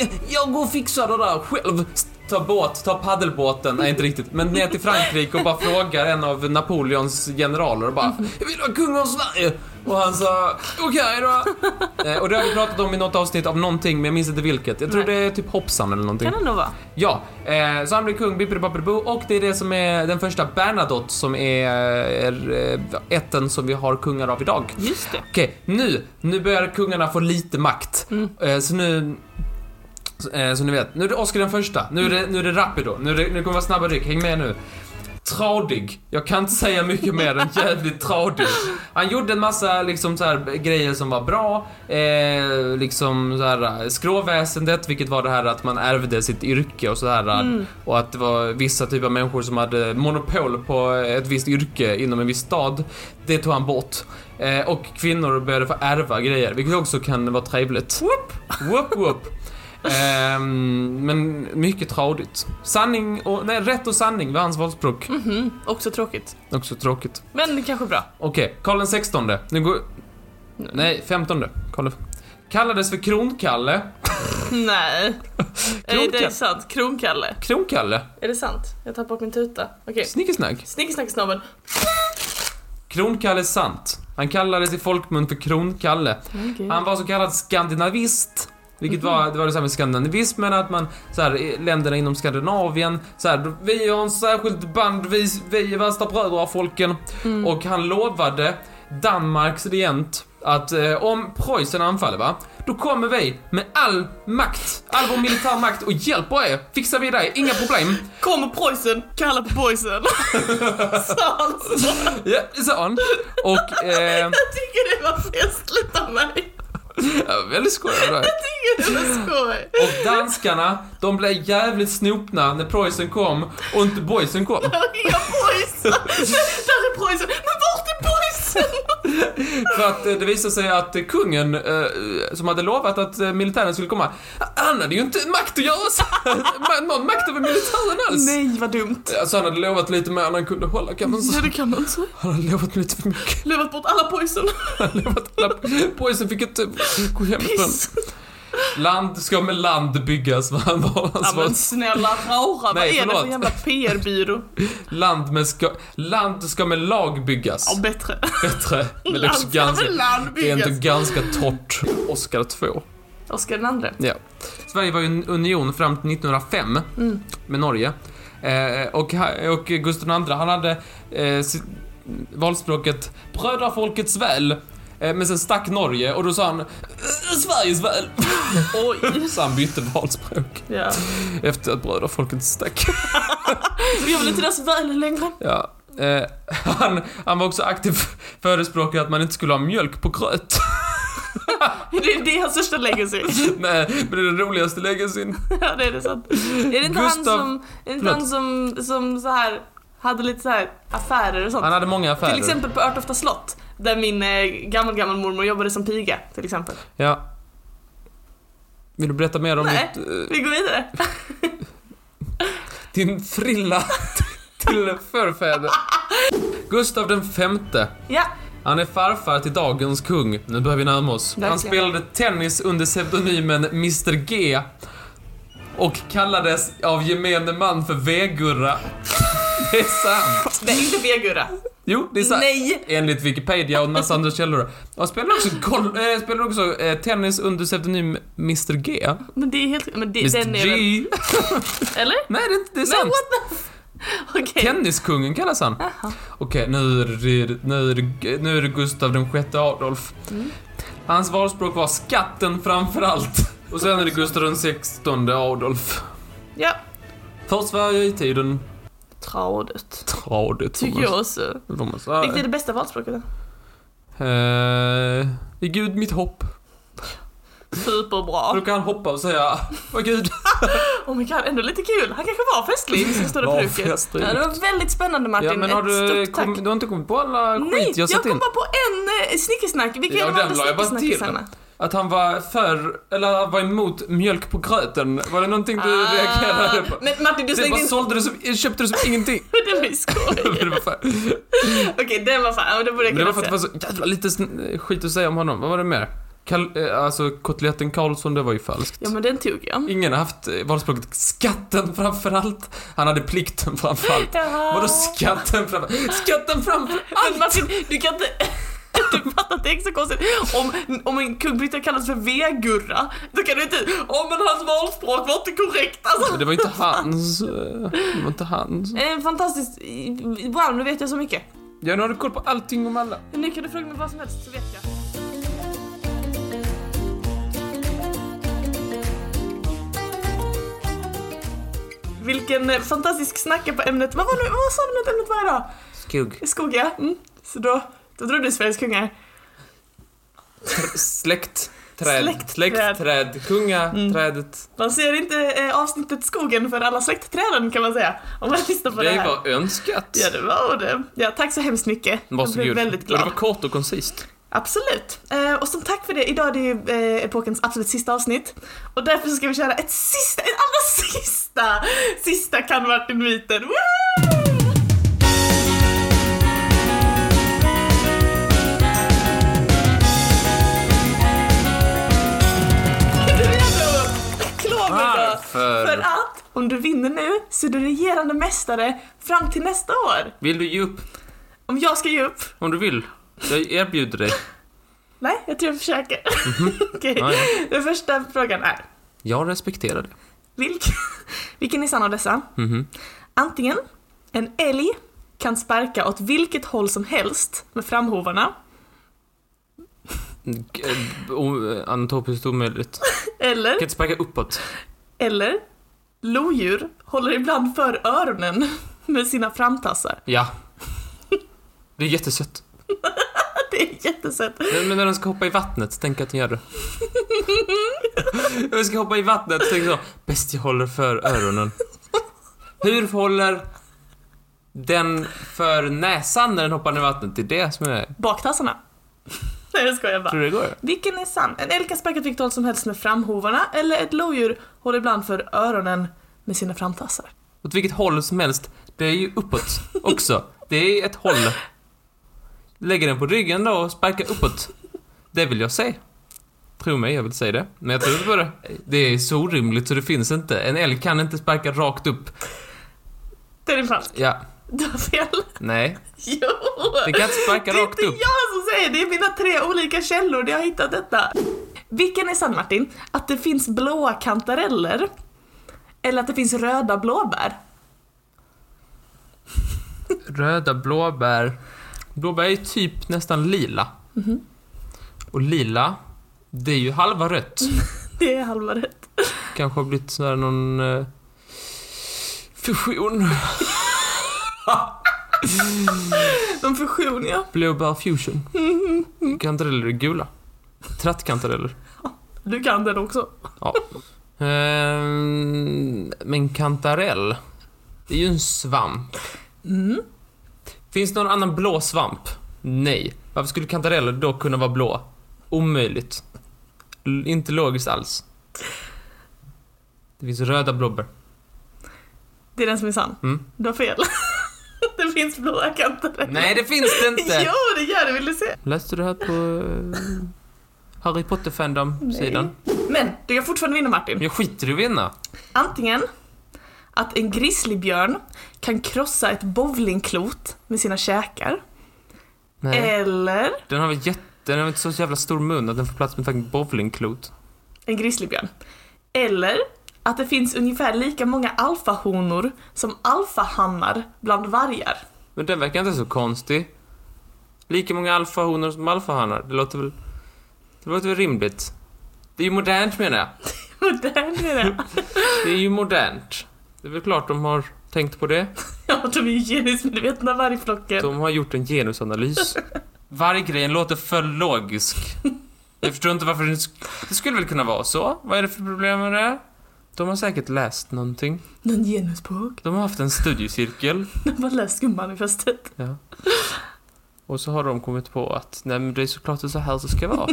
Speaker 1: "Eh, Jag går och fixar det där själv. Ta båt, ta paddelbåten, nej inte riktigt, men ner till Frankrike och bara frågar en av Napoleons generaler och bara Jag vill vara kung av Sverige! Och han sa okej då. Eh, Och det har vi pratat om i något avsnitt av någonting, men jag minns inte vilket. Jag tror
Speaker 2: Nej.
Speaker 1: det är typ hoppsan eller någonting.
Speaker 2: Kan det nog vara.
Speaker 1: Ja, eh, så han blir kung, Bippelibabbelibo, och det är det som är den första Bernadotte som är, är eh, ätten som vi har kungar av idag.
Speaker 2: Just det.
Speaker 1: Okej, nu, nu börjar kungarna få lite makt. Eh, så nu... så- Eh, så ni vet, nu är det Oscar den första, nu är det, nu är det Rapido, nu, är det, nu kommer det vara snabba ryck, häng med nu. Tradig. Jag kan inte säga mycket mer än jävligt tradig. Han gjorde en massa liksom, så här, grejer som var bra. Eh, liksom så här, skråväsendet, vilket var det här att man ärvde sitt yrke och sådär. Och att det var vissa typer av människor som hade monopol på ett visst yrke inom en viss stad. Det tog han bort. Eh, och kvinnor började få ärva grejer, vilket också kan vara trevligt. Whoop! Whoop, whoop. Ehm, men mycket tradigt. Sanning och, nej, rätt och sanning var hans valspråk.
Speaker 2: Också tråkigt.
Speaker 1: Också tråkigt.
Speaker 2: Men det kanske är bra.
Speaker 1: Okej, Karl den sextonde. Nu går... Nej, femtonde. Karl den- Kallades för Kronkalle.
Speaker 2: Nej. Är
Speaker 1: Kronkalle.
Speaker 2: det sant? Kronkalle.
Speaker 1: Kronkalle?
Speaker 2: Är det sant? Jag tappar bort min tuta. Okej.
Speaker 1: Snickesnack.
Speaker 2: Snickesnacksnabben.
Speaker 1: Kronkalle sant. Han kallades i folkmun för Kronkalle. Han var så kallad skandinavist. Vilket var, det var detsamma med skandinavismen, att man, så här, i länderna inom Skandinavien, så här, vi har en särskild band, vi, vi är värsta bröder av folken. Och han lovade Danmarks regent att eh, om Preussen anfaller va, då kommer vi med all makt, all vår militär makt och hjälper er, fixar vi det, inga problem.
Speaker 2: Kommer Preussen, kalla på boysen. Sa han så.
Speaker 1: Ja, sa han. Och, eh,
Speaker 2: Jag tycker det var festligt av mig.
Speaker 1: ja, väldigt skoj. det där.
Speaker 2: Jag tycker det var skoj.
Speaker 1: Och danskarna, de blev jävligt snopna när Preussen kom och inte boysen kom.
Speaker 2: Där är inga boysen. Där är Preussen. Men vart är boysen?
Speaker 1: För att eh, det visade sig att eh, kungen, eh, som hade lovat att eh, militären skulle komma, han hade ju inte makt att göra så. Ma- Någon makt över militären alls.
Speaker 2: Nej, vad dumt.
Speaker 1: Alltså han hade lovat lite mer än han kunde hålla kan man säga.
Speaker 2: Ja, det Alltså, kan man inte säga.
Speaker 1: Han hade lovat lite för mycket.
Speaker 2: Luvat bort alla poison.
Speaker 1: Han hade lovat alla pojsen fick inte gå hem ifrån.
Speaker 2: Piss.
Speaker 1: Land ska med land byggas, var han var
Speaker 2: Ja,
Speaker 1: hans
Speaker 2: men
Speaker 1: ja,
Speaker 2: snälla rara, vad
Speaker 1: Nej,
Speaker 2: är det för
Speaker 1: förlåt.
Speaker 2: jävla PR-byrå?
Speaker 1: land, med ska, land ska med lag byggas.
Speaker 2: Ja, bättre.
Speaker 1: Bättre. Men det är
Speaker 2: Land
Speaker 1: också
Speaker 2: ska
Speaker 1: ganska,
Speaker 2: väl land
Speaker 1: det är ändå
Speaker 2: byggas.
Speaker 1: ganska torrt. Oscar 2.
Speaker 2: Oscar den andre.
Speaker 1: Ja. Sverige var ju en union fram till 1905
Speaker 2: Mm.
Speaker 1: med Norge. Eh, och, ha- och Gustav II, han hade eh, sitt, valspråket Bröder folkets väl. Eh, men sen stack Norge och då sa han "Eh, Sveriges väl.
Speaker 2: Oj.
Speaker 1: Så han bytte valspråk
Speaker 2: Ja.
Speaker 1: efter att bröder folkets stack.
Speaker 2: Vi har väl inte deras väl längre.
Speaker 1: Ja. Eh, han, han var också aktiv förespråkare att man inte skulle ha mjölk på gröt.
Speaker 2: Det är det hans största legacy.
Speaker 1: Nej, men det är den roligaste legacyn.
Speaker 2: Ja, det är det sant. Är det inte
Speaker 1: Gustav-
Speaker 2: han som, är det inte
Speaker 1: Förlåt.
Speaker 2: han som, som så här hade lite så här affärer och sånt?
Speaker 1: Han hade många affärer.
Speaker 2: Till exempel på Örtofta slott, där min eh, gammel, gammel mormor jobbade som piga, till exempel.
Speaker 1: Ja. Vill du berätta mer om
Speaker 2: Nej.
Speaker 1: ditt, eh,
Speaker 2: Vi går vidare.
Speaker 1: din frilla till förfäder? Gustav den femte.
Speaker 2: Ja,
Speaker 1: Han är farfar till dagens kung. Nu börjar vi närma oss. Han
Speaker 2: Verkligen.
Speaker 1: spelade tennis under pseudonymen Mr G och kallades av gemene man för V-Gurra. Det är sant.
Speaker 2: det är inte Vegura.
Speaker 1: Jo, det är sant.
Speaker 2: Nej!
Speaker 1: Enligt Wikipedia och en massa andra källor. Han spelade också, golf, eh, spelade också eh, tennis under pseudonym Mr G.
Speaker 2: Men det är helt... Men det, den
Speaker 1: Mr
Speaker 2: är väl...
Speaker 1: G.
Speaker 2: Eller?
Speaker 1: Nej, det är, inte- det är
Speaker 2: Men
Speaker 1: sant.
Speaker 2: what the... f- Okej.
Speaker 1: Tenniskungen kallas han.
Speaker 2: Jaha.
Speaker 1: Okej, nu är det, nu är det, nu är det Gustav den sjätte Adolf.
Speaker 2: Mm.
Speaker 1: Hans valspråk var skatten framför allt. Och sen är det Gustav den sextonde Adolf.
Speaker 2: Ja.
Speaker 1: För Sverige i tiden.
Speaker 2: Tradigt.
Speaker 1: Tradigt. får
Speaker 2: Tycker
Speaker 1: man-
Speaker 2: jag också.
Speaker 1: får man säga.
Speaker 2: Vilket är det bästa valspråket?
Speaker 1: Eh, I Gud mitt hopp. Då
Speaker 2: Superbra.
Speaker 1: kan han hoppa och säga, vad Gud.
Speaker 2: Oh my god, ändå lite kul. Han kanske var festlig med sin stora
Speaker 1: Var
Speaker 2: peruken.
Speaker 1: festlig.
Speaker 2: Ja, det var väldigt spännande Martin.
Speaker 1: Ja, men har
Speaker 2: Ett
Speaker 1: du,
Speaker 2: stort tack.
Speaker 1: kom, du har inte kommit på alla
Speaker 2: Nej,
Speaker 1: skit jag satt
Speaker 2: kom
Speaker 1: in?
Speaker 2: bara på en eh, snickesnack. Vilka
Speaker 1: Ja,
Speaker 2: är de
Speaker 1: den
Speaker 2: andra
Speaker 1: la jag bara till.
Speaker 2: snickesnackisarna?
Speaker 1: Att han var för, eller han var emot mjölk på gröten. Var det någonting du
Speaker 2: Ah.
Speaker 1: reagerade på?
Speaker 2: Men Martin, du
Speaker 1: Det
Speaker 2: slängde
Speaker 1: bara
Speaker 2: in...
Speaker 1: sålde det som, köpte det som ingenting.
Speaker 2: Det var ju skoj.
Speaker 1: det var fan,
Speaker 2: Okej, den var fan... Ja, men alltså- det borde jag
Speaker 1: men det var för
Speaker 2: kunna
Speaker 1: att det
Speaker 2: säga.
Speaker 1: var så jävla lite sn- skit att säga om honom. Vad var det mer? Kal- eh, alltså kotletten Karlsson, det var ju falskt.
Speaker 2: Ja, men den tog jag.
Speaker 1: Ingen har haft eh, valspråket skatten framför allt. Han hade plikten framför allt.
Speaker 2: Jaha.
Speaker 1: Vadå skatten framför Skatten framför
Speaker 2: Men Martin, du kan inte... Du fattar att det är så konstigt. Om, om en kungbritta kallas för V-Gurra, då kan du inte... Åh, men hans valspråk var inte korrekt alltså.
Speaker 1: Men Det var inte hans. eh, Det var inte hans.
Speaker 2: Eh, fantastiskt. Wow, nu vet jag så mycket.
Speaker 1: Ja, nu har du koll på allting om alla.
Speaker 2: Nu kan du fråga mig vad som helst så vet jag. Vilken eh, fantastisk snacka på ämnet. Vad var nu, vad sa du att ämnet var idag?
Speaker 1: Skugg.
Speaker 2: Skog ja. Mm. Så då, då drog du Sveriges kungar.
Speaker 1: Släkt. Träd.
Speaker 2: Släkt,
Speaker 1: Släkt,
Speaker 2: träd. Mm.
Speaker 1: träd. Kungaträdet.
Speaker 2: Man ser inte eh, avsnittet skogen för alla släktträden kan man säga. Om man lyssnar på det,
Speaker 1: Det
Speaker 2: här.
Speaker 1: var önskat.
Speaker 2: Ja det var det. Ja, tack så hemskt mycket.
Speaker 1: Varsågod.
Speaker 2: Jag blev väldigt
Speaker 1: Och
Speaker 2: glad.
Speaker 1: det var kort och koncist.
Speaker 2: Absolut. Eh, och som tack för det, idag är det ju eh, epokens absolut sista avsnitt. Och därför så ska vi köra ett sista, ett allra sista, sista kan Martin-myten. Woo! Är du redo? Kloven då?
Speaker 1: Varför?
Speaker 2: För att om du vinner nu så är du regerande mästare fram till nästa år.
Speaker 1: Vill du ge upp?
Speaker 2: Om jag ska ge upp
Speaker 1: Om du vill. Jag erbjuder dig.
Speaker 2: Nej, jag tror jag försöker. Okej.
Speaker 1: Mhm. Ja,
Speaker 2: Den första frågan är,
Speaker 1: Jag respekterar det. Mhm.
Speaker 2: vilken, vilken är sann av dessa? Antingen, en älg kan sparka åt vilket håll som helst med framhovarna,
Speaker 1: G- eh, o- eh, Anatopiskt omöjligt.
Speaker 2: eller,
Speaker 1: Kan inte sparka uppåt.
Speaker 2: eller, lodjur håller ibland för öronen med sina framtassar.
Speaker 1: Ja. Det är jättesött.
Speaker 2: Det är jättesött.
Speaker 1: Men men när den ska hoppa i vattnet, tänk att den gör det. När den ska hoppa i vattnet, tänk så. Bäst jag håller för öronen. Hur håller den för näsan när den hoppar ner i vattnet? Det är det som är...
Speaker 2: Baktassarna. Nej jag skojar bara.
Speaker 3: Tror du det går?
Speaker 2: Vilken är sann? En elka sparkar åt vilket håll som helst med framhovarna eller ett lodjur håller ibland för öronen med sina framtassar.
Speaker 1: Åt vilket håll som helst, det är ju uppåt också. Det är ett håll. Lägger den på ryggen då och sparkar uppåt. Det vill jag säga. Tro mig, jag vill säga det. Men jag tror inte på det. Det är så orimligt så det finns inte. En älg kan inte sparka rakt upp.
Speaker 2: Det är falskt.
Speaker 1: Ja,
Speaker 2: Du har fel.
Speaker 1: nej.
Speaker 2: Jo!
Speaker 1: Den kan inte
Speaker 2: Det
Speaker 1: sparka
Speaker 2: är
Speaker 1: rakt
Speaker 2: inte
Speaker 1: upp.
Speaker 2: jag som säger det, det är mina tre olika källor där jag har hittat detta. Vilken är sann Martin? Att det finns blåa kantareller? Eller att det finns röda blåbär?
Speaker 1: Röda blåbär. Blåbär är typ nästan lila. Och lila, det är ju halva rött.
Speaker 2: Det är halva rätt.
Speaker 1: Kanske har blivit sån här någon eh, fusion.
Speaker 2: De fusion ja.
Speaker 1: Blåbär fusion. Kantareller är gula. Trattkantareller.
Speaker 2: Du kan den också.
Speaker 1: Ja. Ehm, men kantarell, det är ju en svamp.
Speaker 2: Mm.
Speaker 1: Finns det någon annan blå svamp? Nej. Varför skulle kantareller då kunna vara blå? Omöjligt. L- inte logiskt alls. Det finns röda blåbär.
Speaker 2: Det är den som är sann.
Speaker 1: Mm.
Speaker 2: Du har fel. det finns blåa kantareller.
Speaker 1: Nej, det finns det inte!
Speaker 2: Jo, det gör det, vill du se?
Speaker 1: Läste du det här på eh, Harry Potter-fandom-sidan?
Speaker 2: Men, du kan fortfarande vinna Martin.
Speaker 1: Jag skiter i att vinna.
Speaker 2: Antingen att en grizzlybjörn kan krossa ett bowlingklot med sina käkar.
Speaker 1: Nej.
Speaker 2: Eh, Eller
Speaker 1: Den har väl jätte... Den har väl inte så jävla stor mun att den får plats med fucking bowlingklot.
Speaker 2: en grizzlybjörn. Eller att det finns ungefär lika många alfahonor som alfahannar bland vargar.
Speaker 1: Men den verkar inte så konstig. Lika många alfahonor som alfahanar. Det låter väl... Det låter väl rimligt. Det är ju modernt menar jag.
Speaker 2: Och där är det.
Speaker 1: Det är ju modernt. Det är väl klart de har tänkt på det.
Speaker 2: Ja, de är ju genusmedvetna vargflocken.
Speaker 1: De har gjort en genusanalys. Varggrejen låter för logisk. Jag förstår inte varför den sk- det skulle väl kunna vara så. Vad är det för problem med det? De har säkert läst någonting.
Speaker 2: Någon genusbok.
Speaker 1: De har haft en studiecirkel.
Speaker 2: De har läst skummanifestet.
Speaker 1: Ja. Och så har de kommit på att nej men det är såklart så här det ska vara.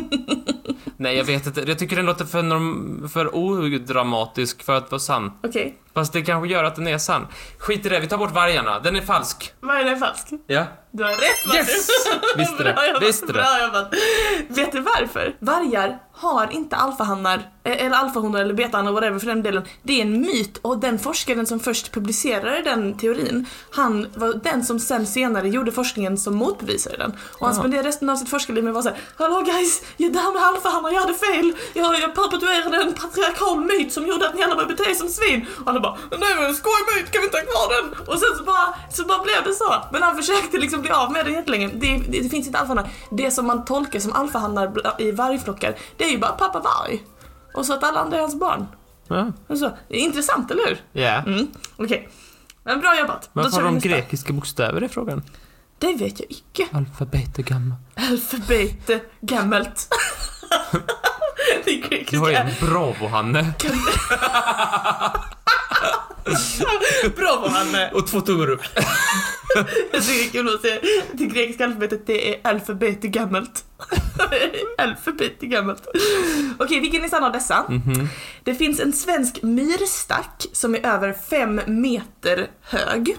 Speaker 1: nej jag vet inte, jag tycker den låter för, norm- för odramatisk för att vara sann.
Speaker 2: Okej,
Speaker 1: Fast det kanske gör att den är sann. Skit i det, vi tar bort vargarna. Den är falsk.
Speaker 2: vad är det falsk?
Speaker 1: Ja.
Speaker 2: Du har rätt Martin!
Speaker 1: Yes! Visste
Speaker 2: Bra
Speaker 1: det,
Speaker 2: jobbat,
Speaker 1: visste det.
Speaker 2: bra jobbat. Vet du varför? Vargar har inte alfahannar, eh, eller alfahonor eller betahannar whatever för den delen. Det är en myt och den forskaren som först publicerade den teorin, han var den som sen senare gjorde forskningen som motbevisade den. Och han
Speaker 1: Jaha.
Speaker 2: spenderade resten av sitt forskarliv med att vara såhär Hallå guys, jag där med alfahannar, jag hade fel! Jag, jag perpetuerade en patriarkal myt som gjorde att ni alla började bete er som svin! Och alla bara Nej men skojmyt, kan vi inte ha kvar den? Och sen så bara, så bara blev det så. Men han försökte liksom bli av med den jättelänge. Det, det, det finns inte alfahannar. Det som man tolkar som alfahannar bla- i vargflockar, det är ju bara pappa varg. Och så att alla andra är hans barn.
Speaker 1: Ja.
Speaker 2: Och Så, det är intressant, eller hur?
Speaker 1: Ja.
Speaker 2: Mm, okej. Men bra jobbat. Då
Speaker 1: Varför
Speaker 2: kör
Speaker 1: har
Speaker 2: vi
Speaker 1: de
Speaker 2: nästa.
Speaker 1: grekiska bokstäver i frågan?
Speaker 2: Det vet jag icke.
Speaker 1: Alfabet är gammal.
Speaker 2: Alfabet gammalt. det är
Speaker 1: Du har ju
Speaker 2: grekiska.
Speaker 1: en bravo, Hanne.
Speaker 2: Bravo Hanne!
Speaker 1: Och två tummar upp.
Speaker 2: Jag tycker det är kul att säga det grekiska alfabetet det är alfabet gammalt. alfabet gammalt. Okej, vilken är sann av dessa?
Speaker 1: Mhm.
Speaker 2: Det finns en svensk myrstack som är över fem meter hög.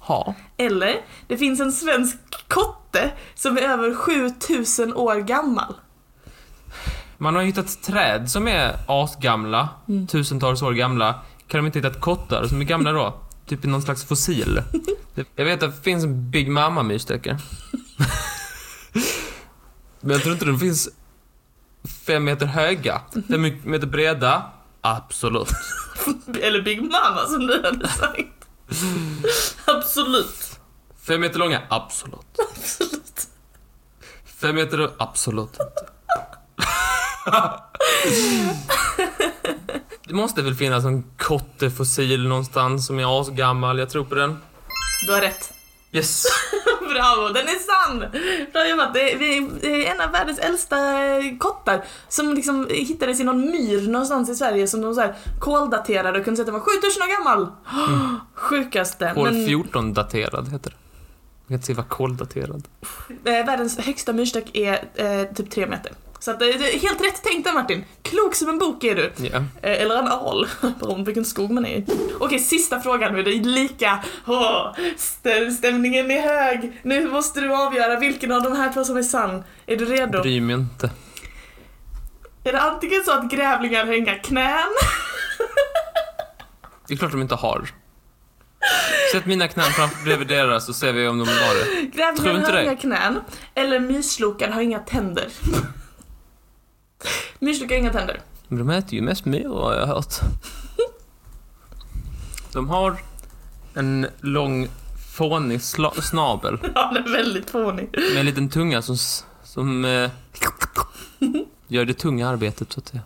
Speaker 1: Ha.
Speaker 2: Eller, det finns en svensk kotte som är över 7000 år gammal.
Speaker 1: Man har hittat träd som är asgamla, tusentals år gamla. Kan de inte hitta ett kottar som är gamla då? Typ i någon slags fossil. Det- Jag vet att det finns en Big Mama myrstackare. Men jag tror inte de finns fem meter höga. Fem meter breda. Absolut.
Speaker 2: Eller Big Mama som du hade sagt. Absolut.
Speaker 1: Fem meter långa? Absolut.
Speaker 2: Absolut.
Speaker 1: Fem meter? Absolut inte. Det måste väl finnas en kottefossil någonstans som är asgammal, jag tror på den.
Speaker 2: Du har rätt.
Speaker 1: Yes!
Speaker 2: Bravo, den är sann! Bra jobbat. Det är, vi det är en av världens äldsta eh, kottar som liksom hittades i någon myr någonstans i Sverige som de så här koldaterade och kunde säga att den var 7000 år gammal. Sjukaste.
Speaker 1: År 14 daterad heter det. Jag kan inte se vad koldaterad.
Speaker 2: Eh, världens högsta myrstack är eh, typ tre meter. Så att, eh, det är helt rätt tänkt där Martin. Klok som en bok är du.
Speaker 1: Ja.
Speaker 2: Eh, eller en al, beroende på vilken skog man är i. Okej, sista frågan nu. Det är lika... Åh, stä- stämningen är hög. Nu måste du avgöra vilken av de här två som är sann. Är du redo?
Speaker 1: Bryr mig inte.
Speaker 2: Är det antingen så att grävlingar har inga knän?
Speaker 1: Det är klart de inte har. Sätt mina knän framför bredvid deras så ser vi om de har det. Tror
Speaker 2: Grävlingar
Speaker 1: inte
Speaker 2: har
Speaker 1: det.
Speaker 2: inga knän. Eller myslokan har inga tänder. myslokan har inga tänder.
Speaker 1: Men de äter ju mest myror har jag hört. De har en lång fånig sla- snabel
Speaker 2: Ja, den är väldigt fånig.
Speaker 1: med en liten tunga som, s- som eh, gör det tunga arbetet så att säga.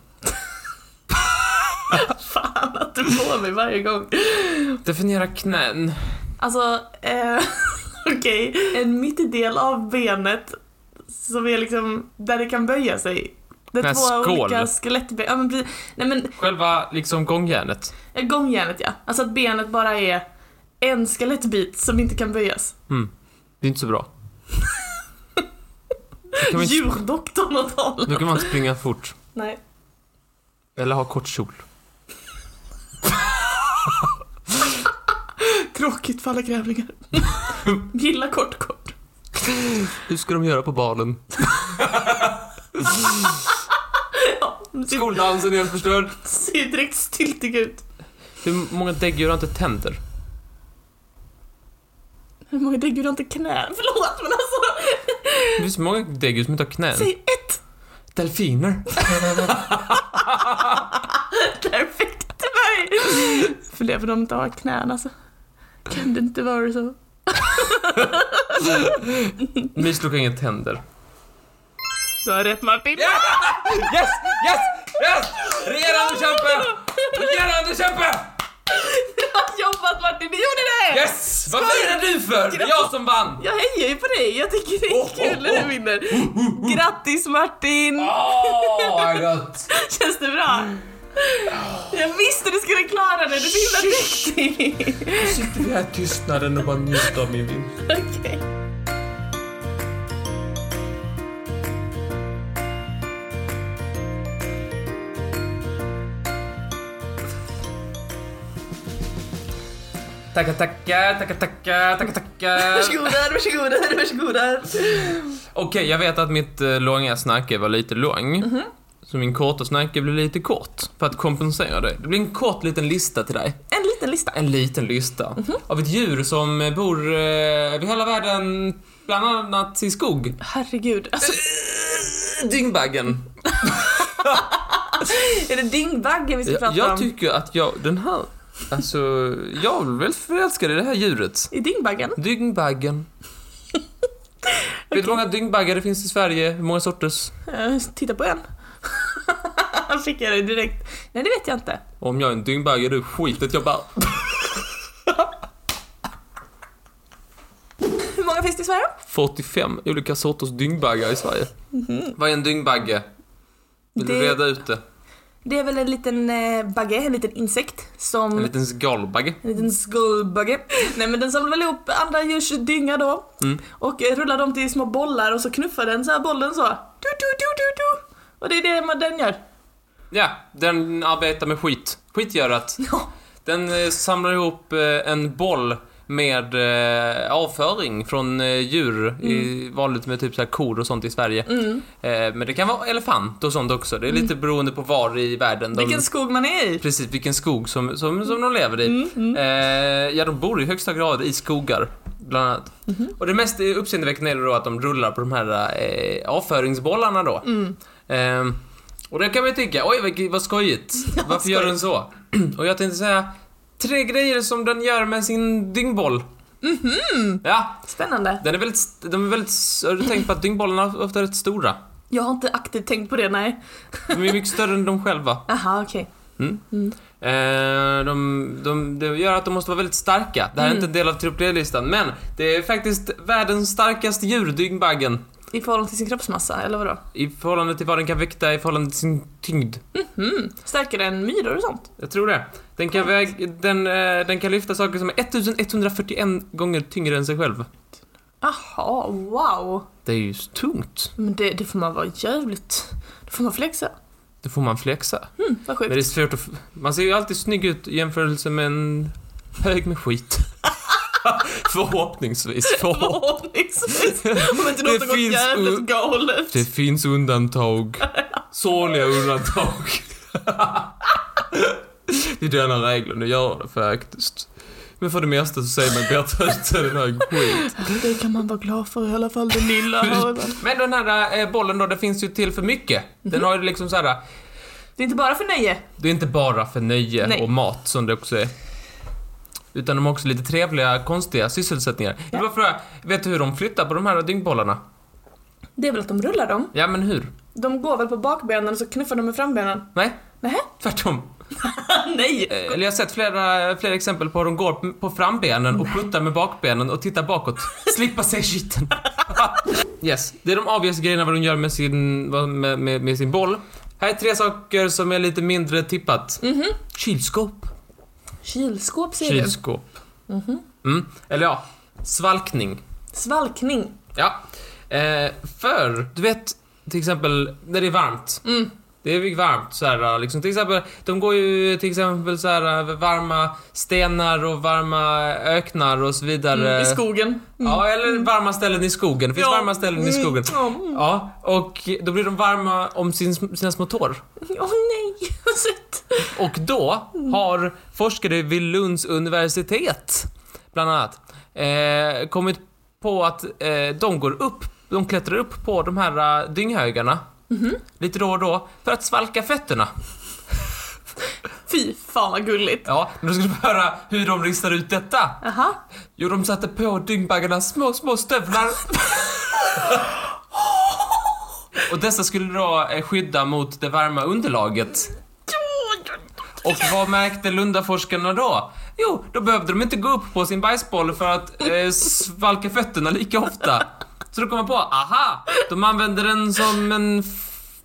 Speaker 2: Fan att du får mig varje gång.
Speaker 1: Definiera knän.
Speaker 2: Alltså, eh, okej. En mittdel av benet som är liksom där det kan böja sig. Det
Speaker 1: Men
Speaker 2: är två
Speaker 1: skål.
Speaker 2: olika skelettben. Ja, men, precis. nej men
Speaker 1: Själva liksom gångjärnet.
Speaker 2: eh, gångjärnet ja. Alltså att benet bara är en skelettbit som inte kan böjas.
Speaker 1: Mm. Det är inte så bra. Då kan man inte,
Speaker 2: Djurdoktorn har talat.
Speaker 1: då kan man inte springa fort.
Speaker 2: Nej.
Speaker 1: Eller ha kort kjol.
Speaker 2: Tråkigt för alla grävlingar. Gilla kort kort.
Speaker 1: Hur ska de göra på balen?
Speaker 2: Ja, de ser,
Speaker 1: Skoldansen är helt förstörd.
Speaker 2: ser direkt styltig ut.
Speaker 1: Hur många däggdjur har inte tänder?
Speaker 2: Hur många däggdjur har inte knän? Förlåt men alltså.
Speaker 1: Det finns många däggdjur som inte har knän.
Speaker 2: Säg ett.
Speaker 1: Delfiner.
Speaker 2: Perfekt till mig! För det är för de inte har knän alltså. Kan det inte vara så?
Speaker 1: Mysloka har inga tänder.
Speaker 2: Du har rätt Martin.
Speaker 1: Yes! Yes! Yes! Regerande kämpe! Regerande kämpe!
Speaker 2: Bra jobbat Martin, du gjorde det!
Speaker 1: Yes! Vad firar du för? Det är jag som vann!
Speaker 2: Jag hejar ju på dig, jag tycker det är kul när du vinner. Grattis Martin!
Speaker 1: Åh, vad gött!
Speaker 2: Känns det bra? Jag visste du skulle klara det, du är så himla duktig!
Speaker 1: Sitter vi här i tystnaden och bara njuter av min vinst.
Speaker 2: Okej.
Speaker 1: Tackar, tackar, tackar, tackar, tackar, tackar.
Speaker 2: Varsågoda, varsågoda, varsågoda.
Speaker 1: Okej, jag vet att mitt eh, långa snacke var lite lång. Så min korta snacke blir lite kort, för att kompensera dig. Det blir en kort liten lista till dig.
Speaker 2: En liten lista.
Speaker 1: En liten lista. Av ett djur som eh, bor eh, över hela världen, bland annat i skog.
Speaker 2: Herregud, alltså
Speaker 1: Dyngbaggen.
Speaker 2: är det dyngbaggen vi ska
Speaker 1: Jag,
Speaker 2: prata
Speaker 1: jag
Speaker 2: om?
Speaker 1: tycker att jag, den här, alltså, jag är väldigt förälskad i det här djuret.
Speaker 2: Är dyngbaggen?
Speaker 1: Dyngbaggen. Vet du hur många dyngbaggar det finns i Sverige? Hur många sorters?
Speaker 2: Eh, Titta på en. Fick jag det direkt? Nej, det vet jag inte.
Speaker 1: Om jag är en dyngbagge, du skitet jag bär.
Speaker 2: Hur många finns det i Sverige?
Speaker 1: 45 olika sorters dyngbaggar i Sverige. Vad är en dyngbagge? Vill du
Speaker 2: Mhm. Det-
Speaker 1: reda ut det?
Speaker 2: Det är väl en liten eh, bagge, en liten insekt som...
Speaker 1: En liten skalbagge.
Speaker 2: En liten skullbagge. Nej men den samlar väl ihop andra djurs dynga då.
Speaker 1: Mm.
Speaker 2: Och eh, rullar dem till små bollar och så knuffar den så här bollen så. Du, du, du, du, du. Och det är det man den gör.
Speaker 1: Ja, den arbetar med skit. Skit gör att
Speaker 2: Ja.
Speaker 1: den eh, samlar ihop eh, en boll med eh, avföring från eh, djur, i, vanligt med typ så här kor och sånt i Sverige.
Speaker 2: Mm.
Speaker 1: Eh, men det kan vara elefant och sånt också. Det är lite beroende på var i världen de...
Speaker 2: Vilken skog man är i.
Speaker 1: Precis, vilken skog som, som, som de lever i. Eh, ja, de bor i högsta grad i skogar, bland annat. Och det mest uppseendeväckande är då att de rullar på de här eh, avföringsbollarna då. Eh, och det kan man ju tycka, oj vilket- vad skojigt. Varför gör den så? och jag tänkte säga tre grejer som den gör med sin dyngboll. Ja,
Speaker 2: Spännande.
Speaker 1: den är väldigt, st- de är väldigt, s- har du tänkt på att dyngbollarna ofta är rätt stora?
Speaker 2: Jag har inte aktivt tänkt på det, nej.
Speaker 1: De är mycket större än de själva.
Speaker 2: Aha, okej.
Speaker 1: Eh, de, de, det gör att de måste vara väldigt starka. Det här är inte en del av trupp D-listan, men det är faktiskt världens starkaste djur, dyngbaggen.
Speaker 2: I förhållande till sin kroppsmassa, eller vadå?
Speaker 1: I förhållande till vad den kan väkta, i förhållande till sin tyngd.
Speaker 2: Stärker den Mhm. myror och sånt?
Speaker 1: Jag tror det. Den kan, väg, den, eh, den kan lyfta saker som är 1141 gånger tyngre än sig själv.
Speaker 2: Jaha, wow.
Speaker 1: Det är ju tungt.
Speaker 2: Men det, det får man vara jävligt... Det får man flexa.
Speaker 1: Då får man flexa.
Speaker 2: Mm, vad
Speaker 1: Men det
Speaker 2: sjukt.
Speaker 1: är svårt att... f- Man ser ju alltid snygg ut i jämförelse med en hög med skit. Förhoppningsvis. Förhopp-
Speaker 2: Förhoppningsvis. Om inte
Speaker 1: Det
Speaker 2: något har gått
Speaker 1: finns
Speaker 2: jävligt
Speaker 1: u-
Speaker 2: galet.
Speaker 1: Det finns undantag. Sorgliga undantag. Det är denna regeln, det gör det faktiskt. Men för det mesta så ser man bättre ut än en hög skit.
Speaker 2: Det kan man vara glad för i alla fall, det lilla.
Speaker 1: Men den här eh, bollen då, det finns ju till för mycket.
Speaker 2: Mhm.
Speaker 1: Den har ju liksom så här.
Speaker 2: Det är inte bara för nöje.
Speaker 1: det är inte bara för nöje
Speaker 2: Nej.
Speaker 1: och mat som det också är. Utan de har också lite trevliga, konstiga sysselsättningar.
Speaker 2: Ja.
Speaker 1: Jag bara frågar, vet du hur de flyttar på de här dyngbollarna?
Speaker 2: Det är väl att de rullar dem.
Speaker 1: Ja, men hur?
Speaker 2: De går väl på bakbenen och så knuffar de med frambenen.
Speaker 1: Nej,
Speaker 2: Nähä?
Speaker 1: tvärtom.
Speaker 2: Nej!
Speaker 1: Eh, Eller jag har sett flera, flera exempel på hur de går p- på frambenen och puttar med bakbenen och tittar bakåt. Slippa se skiten. yes, det är de avgörande grejerna vad de gör med sin, vad- med, med, med sin boll. Här är tre saker som är lite mindre tippat. Kylskåp.
Speaker 2: Kylskåp säger du.
Speaker 1: Kylskåp. Mm. Eller ja, svalkning.
Speaker 2: Svalkning.
Speaker 1: Ja. Eh, för, du vet till exempel när det är varmt.
Speaker 2: Mm.
Speaker 1: Det är ju varmt så här, liksom. Till exempel, de går ju till exempel så här varma stenar och varma öknar och så vidare.
Speaker 2: Mm, I skogen. Mm.
Speaker 1: Ja, eller varma ställen i skogen. Det finns
Speaker 2: Ja.
Speaker 1: Eh, varma ställen i skogen.
Speaker 2: Mm. Ja.
Speaker 1: Ja, och då blir de varma om sin, sina små tår.
Speaker 2: Åh nej, vad sött.
Speaker 1: Och då har forskare vid Lunds universitet, bland annat, eh, kommit på att eh, de går upp, de klättrar upp på de här eh, dynghögarna lite då och då för att svalka fötterna.
Speaker 2: Fy fan vad gulligt.
Speaker 1: Ja, men då ska du höra hur de ristar ut detta.
Speaker 2: Aha.
Speaker 1: Jo, de satte på dyngbaggarna små, små stövlar. och dessa skulle då eh, skydda mot det varma underlaget. Och vad märkte Lundaforskarna då? Jo, då behövde de inte gå upp på sin bajsboll för att eh, svalka fötterna lika ofta. Så då kom man på, aha! De använder den som en f-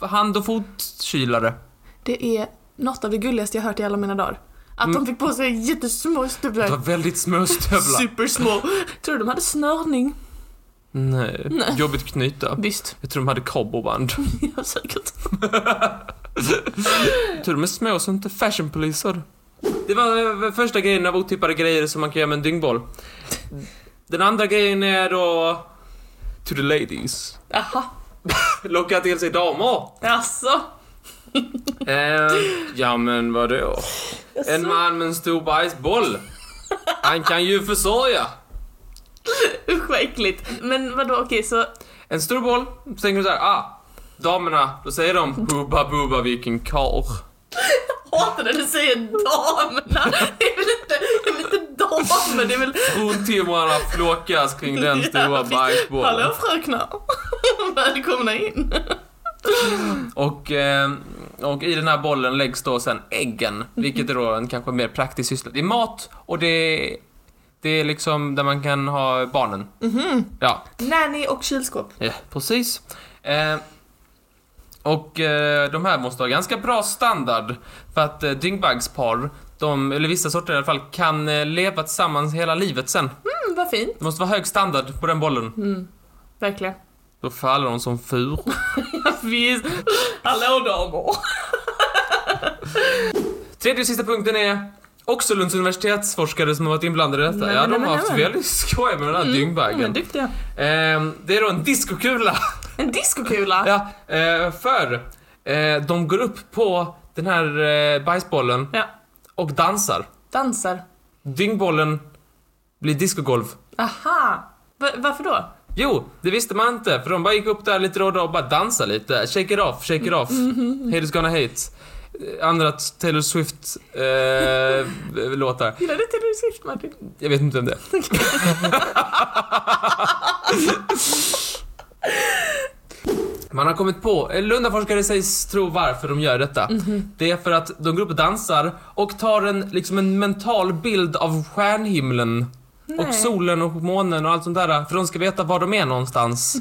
Speaker 1: f- hand och fotkylare.
Speaker 2: Det är något av det gulligaste jag hört i alla mina dagar. Att de fick på sig jättesmå
Speaker 1: Mm. Det var
Speaker 2: stövlar.
Speaker 1: väldigt små stövlar.
Speaker 2: Supersmå. Tror du de hade snörning?
Speaker 1: Nej, jobbigt knyta.
Speaker 2: Visst,
Speaker 1: Jag tror de hade cowboyband.
Speaker 2: ja säkert.
Speaker 1: Tur de är små så inte fashionpoliser. Det var eh, första grejen av otippade grejer som man kan göra med en dyngboll. Den andra grejen är då... To the ladies.
Speaker 2: Aha.
Speaker 1: Locka till sig damer.
Speaker 2: Jaså?
Speaker 1: Eh, ja men vadå? En man med en stor bajsboll. Han kan ju försörja.
Speaker 2: Usch vad äckligt. Men vadå okej så,
Speaker 1: En stor boll, så tänker du såhär, ah, damerna, då säger de bubba bubba vilken karl.
Speaker 2: hatar när du säger damerna. Det är väl inte, det är väl inte damer, det är väl...
Speaker 1: Fruntimrarna flockas kring den stora bajsbollen.
Speaker 2: Hallå fröknar. Välkomna in.
Speaker 1: Och, eh, och i den här bollen läggs då sen äggen, vilket är då en kanske mer praktisk syssla. Det är mat och det, det är liksom där man kan ha barnen. Ja,
Speaker 2: Nanny och kylskåp.
Speaker 1: eh, precis. Eh, och eh, de här måste ha ganska bra standard för att eh, dyngbaggspar, de, eller vissa sorter i alla fall, kan eh, leva tillsammans hela livet sen.
Speaker 2: Mm, vad fint.
Speaker 1: Det måste vara hög standard på den bollen.
Speaker 2: Mm. Verkligen.
Speaker 1: Då faller de som fur.
Speaker 2: Visst. Hallå damer.
Speaker 1: Tredje och sista punkten är också Lunds universitetsforskare som har varit inblandade i detta.
Speaker 2: Nej,
Speaker 1: ja,
Speaker 2: men,
Speaker 1: de
Speaker 2: nej,
Speaker 1: har
Speaker 2: men,
Speaker 1: haft
Speaker 2: nej, men.
Speaker 1: väldigt skoj med den här dyngbaggen.
Speaker 2: Mm, duktiga.
Speaker 1: Ehm, det är då en diskokula.
Speaker 2: En diskokula.
Speaker 1: ja, eh, för eh, de går upp på den här eh, bajsbollen
Speaker 2: Ja.
Speaker 1: och dansar.
Speaker 2: Dansar.
Speaker 1: Dyngbollen blir discogolv.
Speaker 2: Aha. Va- varför då?
Speaker 1: Jo, det visste man inte för de bara gick upp där lite då och då och bara dansade lite. Shake it off, shake it off. Hate is gonna hate. Eh, Andra Taylor Swift-låtar.
Speaker 2: Gillar du Taylor Swift Martin?
Speaker 1: Jag vet inte vem det är. Man har kommit på, eh, Lundaforskare sägs tro varför de gör detta. Det är för att de går upp och dansar och tar en, liksom en mental bild av stjärnhimlen och solen och månen och allt sånt där. För de ska veta var de är någonstans.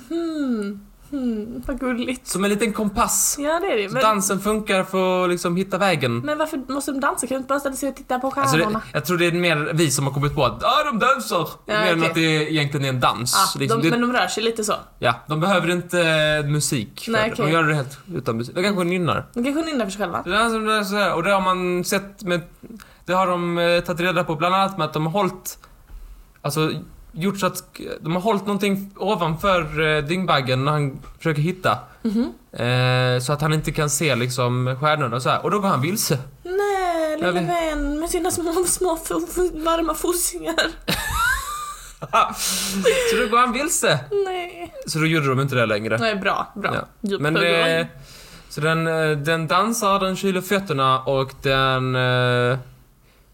Speaker 2: Hmm, vad gulligt.
Speaker 1: Som en liten kompass.
Speaker 2: Ja, det är det ju.
Speaker 1: Så
Speaker 2: Men,
Speaker 1: dansen funkar för att liksom hitta vägen.
Speaker 2: men varför måste de dansa? Kan de inte bara ställa sig och titta på
Speaker 1: Alltså
Speaker 2: stjärnorna?
Speaker 1: det, jag tror det är mer vi som har kommit på att ah, de dansar! mer än
Speaker 2: okej.
Speaker 1: att det egentligen är en dans.
Speaker 2: ah,
Speaker 1: liksom,
Speaker 2: de,
Speaker 1: det,
Speaker 2: men de rör sig lite så.
Speaker 1: ja, de behöver inte eh, musik. för
Speaker 2: Nej,
Speaker 1: det. De
Speaker 2: okej.
Speaker 1: gör det helt utan musik. De kanske nynnar.
Speaker 2: De kanske nynnar för sig själva.
Speaker 1: Det är som det är så här, och det har man sett med... Det har de eh, tagit reda på bland annat med att de har hållit... Alltså, gjort så att... De har hållit någonting ovanför eh, dyngbaggen när han försöker hitta.
Speaker 2: Mhm.
Speaker 1: Eh, så att han inte kan se liksom stjärnorna och så här. Och då går han vilse.
Speaker 2: Nej, lille
Speaker 1: Jag vet-
Speaker 2: vän med sina små, små fo- fo- varma fossingar.
Speaker 1: så då går han vilse.
Speaker 2: Nej.
Speaker 1: Så då gjorde de inte det längre.
Speaker 2: Nej, bra, bra.
Speaker 1: Ja.
Speaker 2: Djup
Speaker 1: Men
Speaker 2: huggorna.
Speaker 1: eh, Så den, eh, den dansar, den kyler fötterna och den... Eh,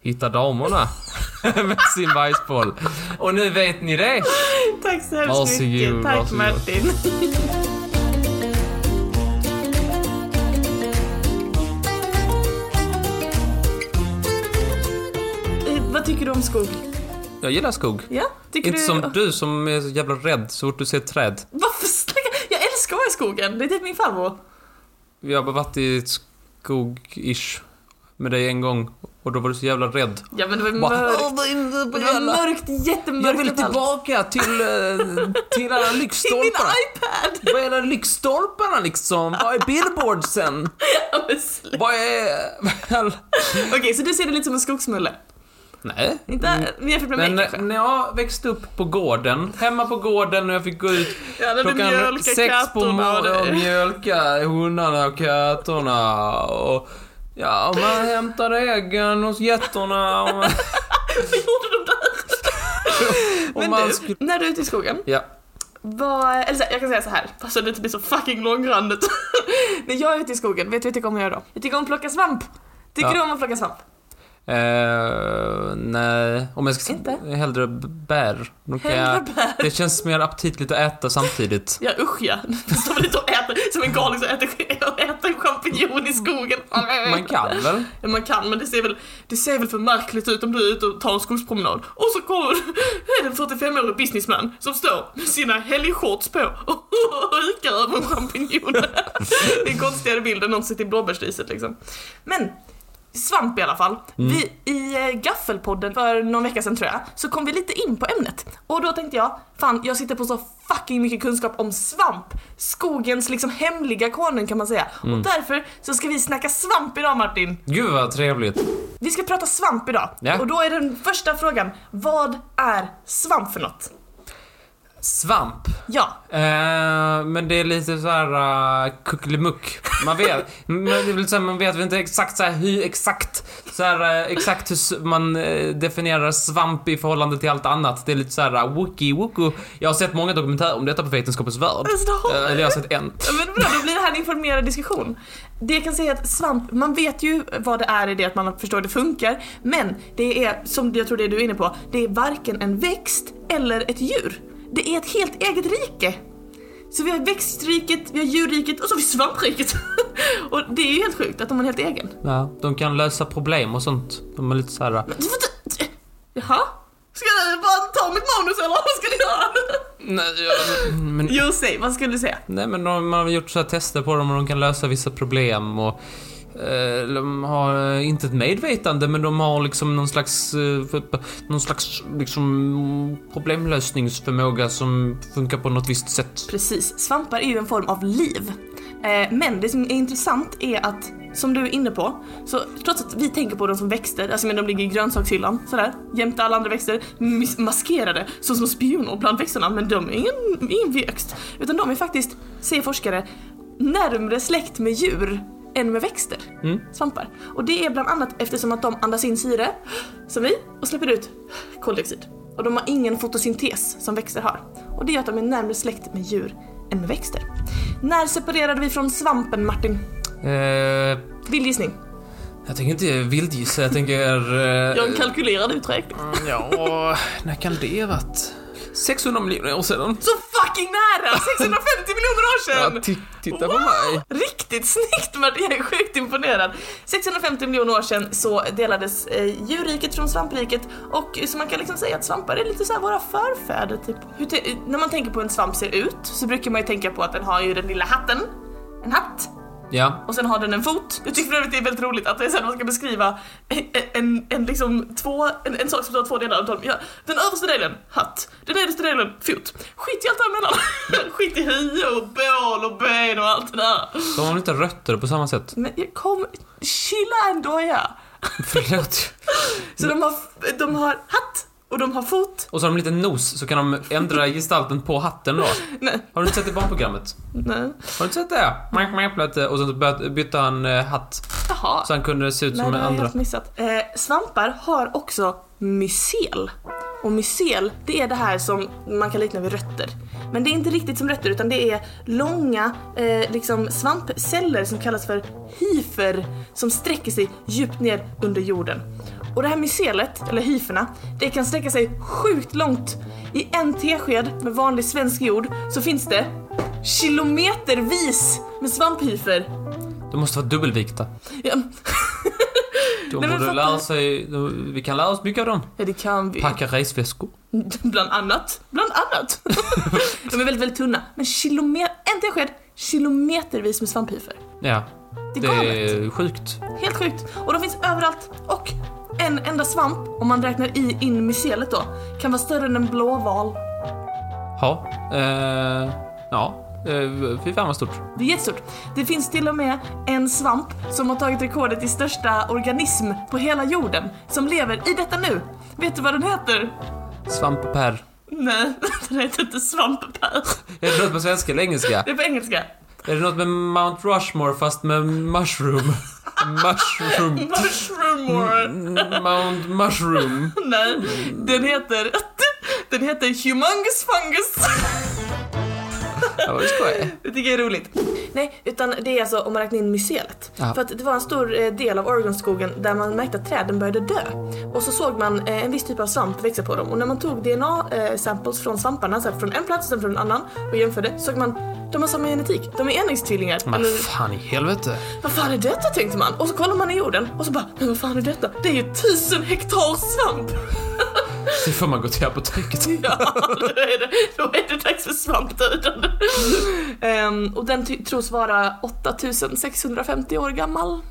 Speaker 1: hittar damerna. med sin bajsboll. Och nu vet ni det.
Speaker 2: Tack så hemskt
Speaker 1: varsågod,
Speaker 2: mycket. Tack
Speaker 1: varsågod.
Speaker 2: Martin. Eh, Vad tycker du om skog?
Speaker 1: Jag gillar skog.
Speaker 2: Ja, tycker
Speaker 1: Inte
Speaker 2: du...
Speaker 1: som du som är så jävla rädd så fort du ser ett träd.
Speaker 2: Varför snackar... Jag älskar att vara i skogen. Det är typ min farbror.
Speaker 1: Jag har bara varit i ett skog-ish med dig en gång och då var du så jävla rädd.
Speaker 2: Ja men det var ju
Speaker 1: Bara,
Speaker 2: mörkt.
Speaker 1: "Åh, vad är det
Speaker 2: Det
Speaker 1: på
Speaker 2: var
Speaker 1: alla?"
Speaker 2: mörkt, jättemörkt.
Speaker 1: Jag vill
Speaker 2: överallt.
Speaker 1: tillbaka till, eh, till alla
Speaker 2: Till min
Speaker 1: lyktstolparna.
Speaker 2: iPad!
Speaker 1: Vad är alla lyktstolparna liksom? Vad är billboardsen?
Speaker 2: Ja, men sluta.
Speaker 1: Vad är...
Speaker 2: Okej, så du ser det lite som en skogsmulle?
Speaker 1: Nej.
Speaker 2: Inte mm. jämfört med
Speaker 1: Men
Speaker 2: mig
Speaker 1: eh,
Speaker 2: kanske?
Speaker 1: när jag växte upp på gården, hemma på gården och jag fick gå ut
Speaker 2: Ja, när du
Speaker 1: eh, Klockan
Speaker 2: mjölkar
Speaker 1: sex på
Speaker 2: katterna och
Speaker 1: morgonen och
Speaker 2: det...
Speaker 1: mjölka hundarna och katterna och... Ja, och man hämtade äggen hos getterna och man...
Speaker 2: Vad gjorde de där?
Speaker 1: Och
Speaker 2: Men
Speaker 1: man
Speaker 2: du,
Speaker 1: skulle...
Speaker 2: när du är ute i skogen,
Speaker 1: Ja.
Speaker 2: vad... Eller så här, jag kan säga så här, fast det inte blir så fucking långrandigt. när jag är ute i skogen, vet du vad jag tycker om att göra då? Jag tycker om att plocka svamp. Tycker
Speaker 1: Ja.
Speaker 2: du om att plocka svamp?
Speaker 1: Eh, nej, om jag ska...
Speaker 2: Inte?
Speaker 1: Hellre b- bär. Då kan
Speaker 2: Hellre
Speaker 1: jag...
Speaker 2: bär.
Speaker 1: Det känns mer aptitligt att äta samtidigt.
Speaker 2: Ja usch ja, står väl inte och äter som en galning som äter, och äter en champinjon i skogen.
Speaker 1: Man kan väl?
Speaker 2: Ja, man kan men det ser, väl, det ser väl för märkligt ut om du är ute och tar en skogspromenad och så kommer är det en 45-årig businessman som står med sina helgshorts på och hukar över en champinjon. det är en konstigare bild än någon sitter i blåbärsriset liksom. Men svamp i alla fall. Vi, I eh, Gaffelpodden för någon vecka sedan tror jag, så kom vi lite in på ämnet. Och då tänkte jag, fan jag sitter på så fucking mycket kunskap om svamp. Skogens liksom hemliga konung kan man säga. Och därför så ska vi snacka svamp idag Martin.
Speaker 1: Gud vad trevligt.
Speaker 2: Vi ska prata svamp idag.
Speaker 1: Ja.
Speaker 2: Och då är den första frågan, vad är svamp för något?
Speaker 1: Svamp.
Speaker 2: Ja,
Speaker 1: Eh, men det är lite så här uh, kuckelimuck. Man vet, men det är väl så här, man vet väl inte exakt så här hur exakt, så här, eh, exakt hur s- man eh, definierar svamp i förhållande till allt annat. Det är lite så här uh, wookie wookie. Jag har sett många dokumentärer om detta på Vetenskapens Värld.
Speaker 2: alltså det
Speaker 1: Eh,
Speaker 2: har
Speaker 1: eller jag har sett en.
Speaker 2: Ja, Men bra, då blir det här en informerad diskussion. Det jag kan säga är att svamp, man vet ju vad det är i det att man förstår hur det funkar, men det är, som jag tror det du är inne på, det är varken en växt eller ett djur. Det är ett helt eget rike. Så vi har växtriket, vi har djurriket och så har vi svampriket. och det är ju helt sjukt att de har en helt egen.
Speaker 1: Ja, de kan lösa problem och sånt. De är lite så här. eh,
Speaker 2: Men du får inte... Jaha? Ska du bara ta mitt manus eller vad ska du göra?
Speaker 1: Nej, jag, men,
Speaker 2: Jo, säg, vad skulle du säga?
Speaker 1: nej men de, man har gjort så här tester på dem och de kan lösa vissa problem och eh, de har eh, inte ett medvetande men de har liksom någon slags, eh, för- någon slags liksom, problemlösningsförmåga som funkar på något visst sätt.
Speaker 2: Precis, svampar är ju en form av liv. Eh, Men det som är intressant är att, som du är inne på, så trots att vi tänker på dem som växter, alltså men de ligger i grönsakshyllan sådär, jämte alla andra växter, mis- maskerade som små spioner bland växterna, men de är ingen, ingen växt. Utan de är faktiskt, säger forskare, närmre släkt med djur än med växter,
Speaker 1: Mm.
Speaker 2: svampar. Och det är bland annat eftersom att de andas in syre, som vi, och släpper ut koldioxid. Och de har ingen fotosyntes som växter har. Och det gör att de är närmare släkt med djur än med växter. När separerade vi från svampen, Martin?
Speaker 1: Eh,
Speaker 2: Vild gissning.
Speaker 1: jag tänker inte vildgissa, jag tänker... Eh,
Speaker 2: Jag har en kalkylerad uträkning.
Speaker 1: ja, när kan det ha varit? 600 miljoner år sedan.
Speaker 2: Så fucking nära! 650 miljoner år
Speaker 1: Ja,
Speaker 2: sedan!
Speaker 1: ti- titta på
Speaker 2: Wow!
Speaker 1: mig.
Speaker 2: Riktigt snyggt Martin, jag är sjukt imponerad. 650 miljoner år sedan så delades eh, djurriket från svampriket och eh, så man kan liksom säga att svampar är lite så här våra förfäder typ. Hur te- eh, när man tänker på hur en svamp ser ut så brukar man ju tänka på att den har ju den lilla hatten, en hatt,
Speaker 1: Ja.
Speaker 2: och sen har den en fot. Jag tycker för övrigt det är väldigt roligt att det är så här man ska beskriva en, en, en, liksom två, en, en sak som har två delar. av tolv. Ja, den översta delen, hatt. Den nedersta delen, fot. Skit i allt däremellan. Skit i hya och bål och ben och allt det där.
Speaker 1: De har inte rötter på samma sätt.
Speaker 2: Men jag kom, chilla en doja.
Speaker 1: Förlåt.
Speaker 2: Så de har, de har hatt och de har fot.
Speaker 1: Och så har de lite nos, så kan de ändra gestalten på hatten då.
Speaker 2: Nej,
Speaker 1: Har du inte sett det i barnprogrammet?
Speaker 2: nej.
Speaker 1: Har du inte sett det? Mjäk, mjäk, plötsligt. Och sen så började- bytte han eh, hatt,
Speaker 2: Jaha.
Speaker 1: så han kunde se ut
Speaker 2: Nej,
Speaker 1: som
Speaker 2: det
Speaker 1: den
Speaker 2: har jag
Speaker 1: andra.
Speaker 2: helt missat. Eh, svampar har också mycel. Och mycel, det är det här som man kan likna vid rötter. Men det är inte riktigt som rötter utan det är långa eh, liksom svampceller som kallas för hyfer som sträcker sig djupt ner under jorden. Och det här mycelet, eller hyferna, det kan sträcka sig sjukt långt. I en tesked med vanlig svensk jord så finns det kilometervis med svamphyfer.
Speaker 1: De måste vara dubbelvikta.
Speaker 2: Ja,
Speaker 1: De
Speaker 2: Nej, men
Speaker 1: borde
Speaker 2: fattar-
Speaker 1: lära sig, de- vi kan lära oss mycket av dem.
Speaker 2: ja, det kan vi.
Speaker 1: Packa resväskor.
Speaker 2: Bland annat. Bland annat. De är väldigt, väldigt tunna. Men kilometer, en tesked kilometervis med svamphyfer.
Speaker 1: Ja,
Speaker 2: Det
Speaker 1: det
Speaker 2: är galet.
Speaker 1: är sjukt.
Speaker 2: Helt sjukt. Och de finns överallt. Och en enda svamp, om man räknar i in mycelet då, kan vara större än en blåval.
Speaker 1: Ja, eh, ja, eh, fy fan vad stort.
Speaker 2: Det är jättestort. Det finns till och med en svamp som har tagit rekordet i största organism på hela jorden, som lever i detta nu. Vet du vad den heter?
Speaker 1: Svampepär.
Speaker 2: Nej, den heter inte svamppär.
Speaker 1: Är det något på svenska eller engelska?
Speaker 2: Det är på engelska.
Speaker 1: Är det något med Mount Rushmore fast med mushroom? Mushroom.
Speaker 2: Mushroomore.
Speaker 1: Mount Mushroom.
Speaker 2: Nej, den heter... Den heter Humongous Fungus.
Speaker 1: Ja, vad skoj.
Speaker 2: Det tycker jag är roligt. Nej, utan det är alltså om man räknar in mycelet.
Speaker 1: Ja.
Speaker 2: För att det var en stor eh, del av Oregonskogen där man märkte att träden började dö. Och så såg man eh, en viss typ av svamp växa på dem. Och när man tog DNA-samples eh, från svamparna, så här, från en plats och sen från en annan och jämförde, såg man de har samma genetik. De är enäggstvillingar.
Speaker 1: Men
Speaker 2: Eller-
Speaker 1: fan i helvete.
Speaker 2: vad fan är detta tänkte man och så kollar man i jorden och så bara, men vad fan är detta? Det är ju tusen hektar svamp!
Speaker 1: Det får man gå till apoteket.
Speaker 2: Ja, då är det, då är det dags för svampdödande. Ehm, och den ty- tros vara 8650 år gammal.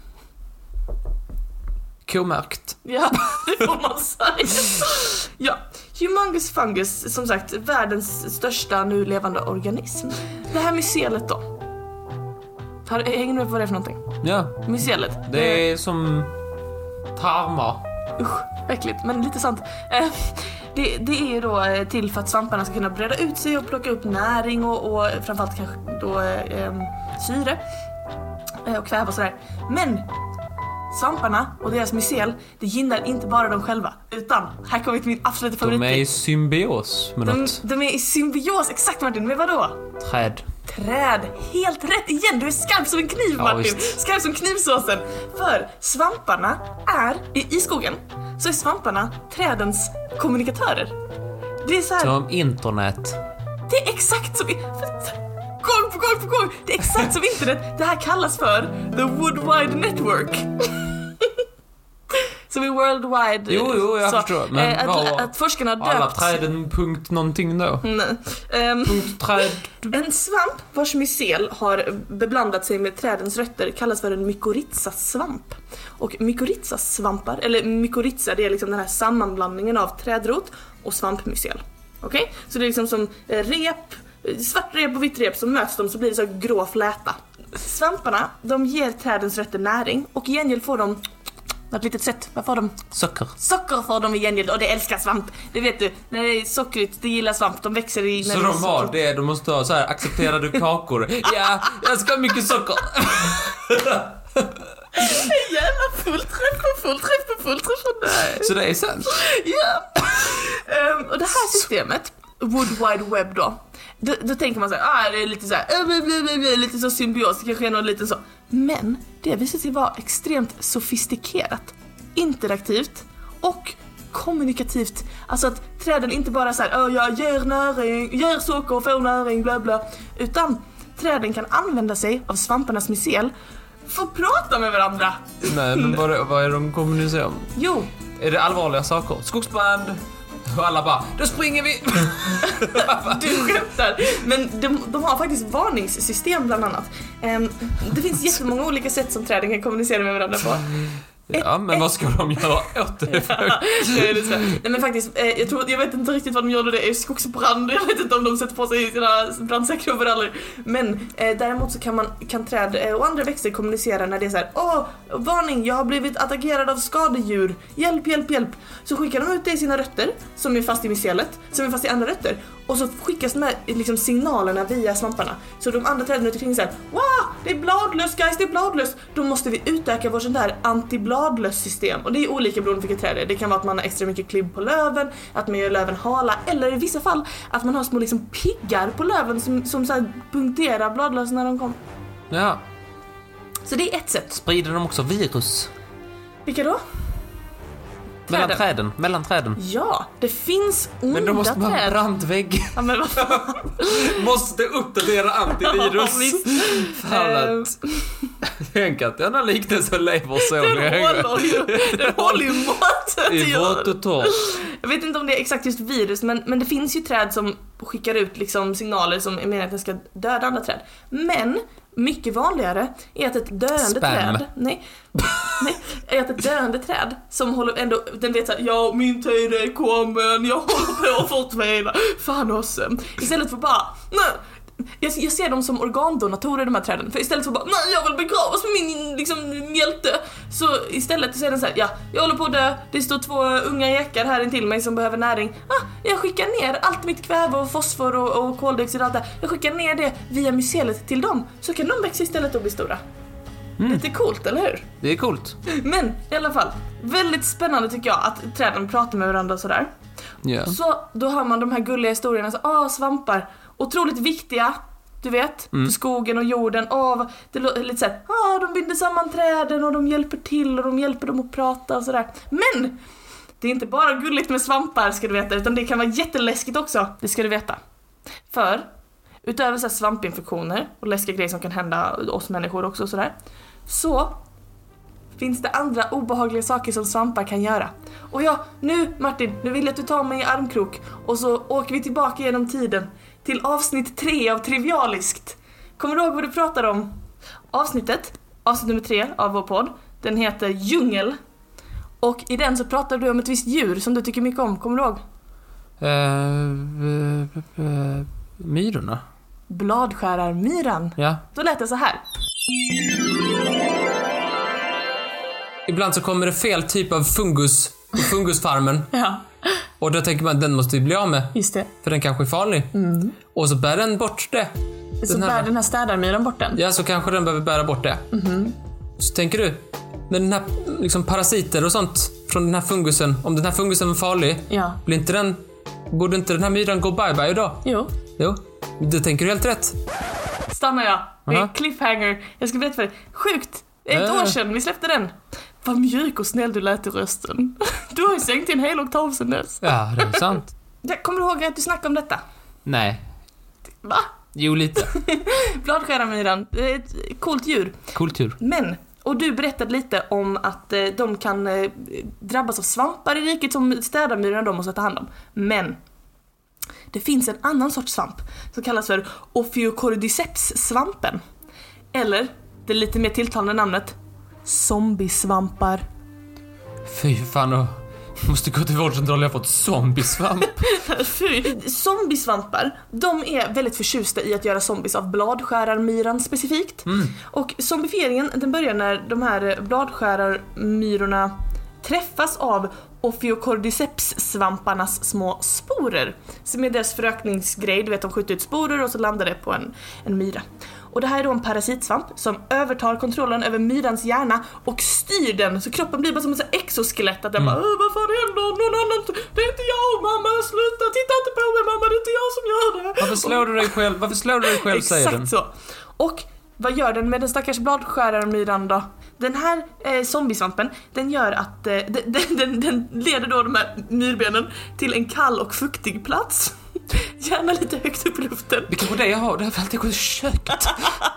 Speaker 1: K-märkt.
Speaker 2: Ja, det får man säga. Ja, Humongous Fungus, som sagt världens största nu levande organism. Det här mycelet då? Har, hänger du med på vad det är för någonting?
Speaker 1: Ja,
Speaker 2: Mycelet?
Speaker 1: det är som tarmar.
Speaker 2: Usch, äckligt, men lite sant. Eh, Det, det är ju då eh, till för att svamparna ska kunna breda ut sig och plocka upp näring och, och framförallt kanske då eh, em, syre eh, och kväve och sådär. Men svamparna och deras mycel, det gynnar inte bara dem själva utan, här kommer till min absoluta
Speaker 1: De är i
Speaker 2: favorit.
Speaker 1: symbios med
Speaker 2: De,
Speaker 1: något
Speaker 2: de är i symbios, exakt Martin, med vadå?
Speaker 1: träd.
Speaker 2: Träd! Helt rätt igen! Du är skarp som en kniv
Speaker 1: Ja,
Speaker 2: Martin!
Speaker 1: visst.
Speaker 2: Skarp som knivsåsen! För svamparna är, i, i skogen, så är svamparna trädens kommunikatörer. Det är så här,
Speaker 1: Som internet.
Speaker 2: det är exakt som... i- Gång på gång på gång! Det är exakt som internet. Det här kallas för the Worldwide Network. Som är World Wide...
Speaker 1: Jo, jo, jag förstår. Men
Speaker 2: eh, att,
Speaker 1: vad-
Speaker 2: att forskarna har
Speaker 1: Har alla
Speaker 2: döpt...
Speaker 1: träden punkt någonting då?
Speaker 2: Nej. Ehm,
Speaker 1: Punkt träd.
Speaker 2: en svamp vars mycel har beblandat sig med trädens rötter kallas för en mykorrhizasvamp. Och mykorrhizasvampar, eller mykorrhiza, det är liksom den här sammanblandningen av trädrot och svampmycel. Okej? Så det är liksom som eh, rep, eh, svart rep och vitt rep, så möts de så blir det så här grå fläta. Svamparna, de ger trädens rötter näring och i gengäld får de något litet sött. Vad får de?
Speaker 1: Socker.
Speaker 2: Socker får de i gengäld och det älskar svamp. Det vet du, när det är sockrigt, det gillar svamp. De växer i... när
Speaker 1: Så
Speaker 2: det är
Speaker 1: de har
Speaker 2: sockrigt.
Speaker 1: det, de måste ha så här accepterade kakor. Ja, jag ska ha mycket socker.
Speaker 2: Jävla fullträff på fullträff på fullträff på dig.
Speaker 1: Så det är sant.
Speaker 2: Ja. Ehm, och det här systemet, Wood Wide Web då. Då, då tänker man så här, ah, det är lite så här, eh, bleh, bleh, bleh, bleh, lite så symbios, det kanske är någon liten så. Men det visar sig vara extremt sofistikerat, interaktivt och kommunikativt. Alltså att träden inte bara så här, "Ö, jag ger näring, ger socker och får näring, bla bla. Utan träden kan använda sig av svamparnas mycel för att prata med varandra.
Speaker 1: Nej, men vad, är- vad är de kommunicerar om?
Speaker 2: Jo,
Speaker 1: Är det allvarliga saker? Skogsbrand? Och alla bara, då springer vi!
Speaker 2: du skämtar. Men de, de har faktiskt varningssystem bland annat. Ehm, det finns jättemånga olika sätt som träden kan kommunicera med varandra på.
Speaker 1: Ja, men vad ska de göra åt det?
Speaker 2: Det är lite så här. Nej men faktiskt, eh, jag, tror, jag vet inte riktigt vad de gjorde, det är skogsbrand, jag vet inte om de sätter på sig sina brandsäkra overaller. Men eh, däremot så kan, man, kan träd eh, och andra växter kommunicera när det är så här: åh, varning, jag har blivit attackerad av skadedjur, hjälp, hjälp, hjälp. Så skickar de ut det i sina rötter, som är fast i mycelet, som är fast i andra rötter. Och så skickas de här eh, liksom, signalerna via svamparna. Så de andra träden runt omkring såhär, wow, det är bladlöss guys, det är bladlöss. Då måste vi utöka vårt sånt där antibladlöss system. Och det är olika beroende på vilket träd det är. Det kan vara att man har extra mycket klibb på löven, att man gör löven hala, eller i vissa fall att man har små liksom piggar på löven som, som så här punkterar bladlössen när de kom.
Speaker 1: Ja,
Speaker 2: Så det är ett sätt.
Speaker 1: sprider de också virus?
Speaker 2: Vilka då?
Speaker 1: Mellan
Speaker 2: Träden.
Speaker 1: träden? Mellan träden?
Speaker 2: Ja, det finns onda
Speaker 1: Men då måste man ha en
Speaker 2: träd.
Speaker 1: brandvägg.
Speaker 2: Ja, men vad fan.
Speaker 1: Måste uppdatera
Speaker 2: Ja,
Speaker 1: antivirus.
Speaker 2: visst.
Speaker 1: Fan att... Tänk att denna liknelse lever så
Speaker 2: Den
Speaker 1: länge.
Speaker 2: håller ju, den håller ju måttet.
Speaker 1: I vått och torrt.
Speaker 2: Jag vet inte om det är exakt just virus, men, men det finns ju träd som skickar ut liksom signaler som är meningen att den ska döda andra träd. Men mycket vanligare är att ett döende
Speaker 1: Spam.
Speaker 2: träd... Nej. nej. Är att ett döende träd som håller ändå... Den vet såhär, ja min tid är kommen, jag håller på att förtvina. Fan också. Istället för bara, nej. Jag, jag ser dem som organdonatorer de här träden. För istället för bara nej jag vill begravas med min liksom, hjälte. Så istället så är den så här, ja jag håller på att dö, det står två unga jäkar här intill mig som behöver näring. Ah, jag skickar ner allt mitt kväve och fosfor och, och koldioxid och allt det här. Jag skickar ner det via mycelet till dem. Så kan de växa istället och bli stora. Lite coolt eller hur?
Speaker 1: Det är coolt.
Speaker 2: Men i alla fall, väldigt spännande tycker jag att träden pratar med varandra och sådär.
Speaker 1: Ja.
Speaker 2: Så då hör man de här gulliga historierna, så, ah, svampar, otroligt viktiga, du vet, för skogen och jorden. Ah, vad- det lå- lite såhär, ah, de binder samman träden och de hjälper till och de hjälper dem att prata och sådär. Men! Det är inte bara gulligt med svampar ska du veta, utan det kan vara jätteläskigt också, det ska du veta. För, utöver så här svampinfektioner och läskiga grejer som kan hända oss människor också och sådär, så finns det andra obehagliga saker som svampar kan göra. Och ja, nu Martin, nu vill jag att du tar mig i armkrok och så åker vi tillbaka genom tiden till avsnitt tre av Trivialiskt. Kommer du ihåg vad du pratar om? Avsnittet, avsnitt nummer tre av vår podd, den heter Djungel. Och i den så pratar du om ett visst djur som du tycker mycket om, kommer du ihåg?
Speaker 1: Uh, myrorna?
Speaker 2: Bladskärarmyran.
Speaker 1: Ja.
Speaker 2: Då lät det så här.
Speaker 1: Ibland så kommer det fel typ av fungus på fungusfarmen
Speaker 2: Ja,
Speaker 1: och då tänker man att den måste vi bli av med
Speaker 2: just det.
Speaker 1: för den kanske är farlig. Och så bär den bort det.
Speaker 2: så
Speaker 1: här-
Speaker 2: bär den här städarmyran bort den.
Speaker 1: Ja, så kanske den behöver bära bort det. Så tänker du, när den här liksom, parasiter och sånt från den här fungusen, om den här fungusen var farlig,
Speaker 2: Ja.
Speaker 1: blir inte den, borde inte den här myran gå bye-bye då?
Speaker 2: Jo,
Speaker 1: Jo, det tänker du helt rätt.
Speaker 2: stannar jag. Det är
Speaker 1: Aha.
Speaker 2: cliffhanger. Jag ska berätta för dig. Sjukt! Det är ett
Speaker 1: Ja, ja.
Speaker 2: år sedan vi släppte den. Vad mjuk och snäll du lät i rösten. Du har ju sänkt en hel oktav sedan dess.
Speaker 1: Ja, det är sant.
Speaker 2: Ja, Kommer du ihåg att du snackade om detta?
Speaker 1: Nej.
Speaker 2: Va?
Speaker 1: Jo, lite.
Speaker 2: Bladskärarmyran, det är ett coolt djur.
Speaker 1: Coolt djur.
Speaker 2: Men, och du berättade lite om att eh, de kan eh, drabbas av svampar i riket som städarmyrorna de måste ta hand om. Men, det finns en annan sorts svamp som kallas för Ophiocordyceps-svampen. Eller, det lite mer tilltalande namnet, zombiesvampar.
Speaker 1: Fy fan, och måste gå till vårdcentralen, jag har fått zombiesvamp.
Speaker 2: Fy. Zombiesvampar, de är väldigt förtjusta i att göra zombies av bladskärarmyran specifikt. Och zombifieringen den börjar när de här bladskärarmyrorna träffas av Ophiocordyceps-svamparnas små sporer. Som är deras förökningsgrej, du vet de skjuter ut sporer och så landar det på en, en myra. Och det här är då en parasitsvamp som övertar kontrollen över myrans hjärna och styr den så kroppen blir bara som ett sånt här exoskelett att den
Speaker 1: Mm.
Speaker 2: bara "Åh, vad fan händer? Någon annan? Det är inte jag mamma, sluta, titta inte på mig mamma, det är inte jag som gör det.
Speaker 1: Varför slår du dig själv? Varför slår du dig själv, säger den.
Speaker 2: Exakt så. Och Vad gör den med den stackars bladskärarenmyran då? Den här eh, zombiesvampen, den gör att eh, den, den, den, den leder då de här myrbenen till en kall och fuktig plats. Gärna lite högt upp i luften.
Speaker 1: Det kanske är det jag har, det här väldigt gott köttet.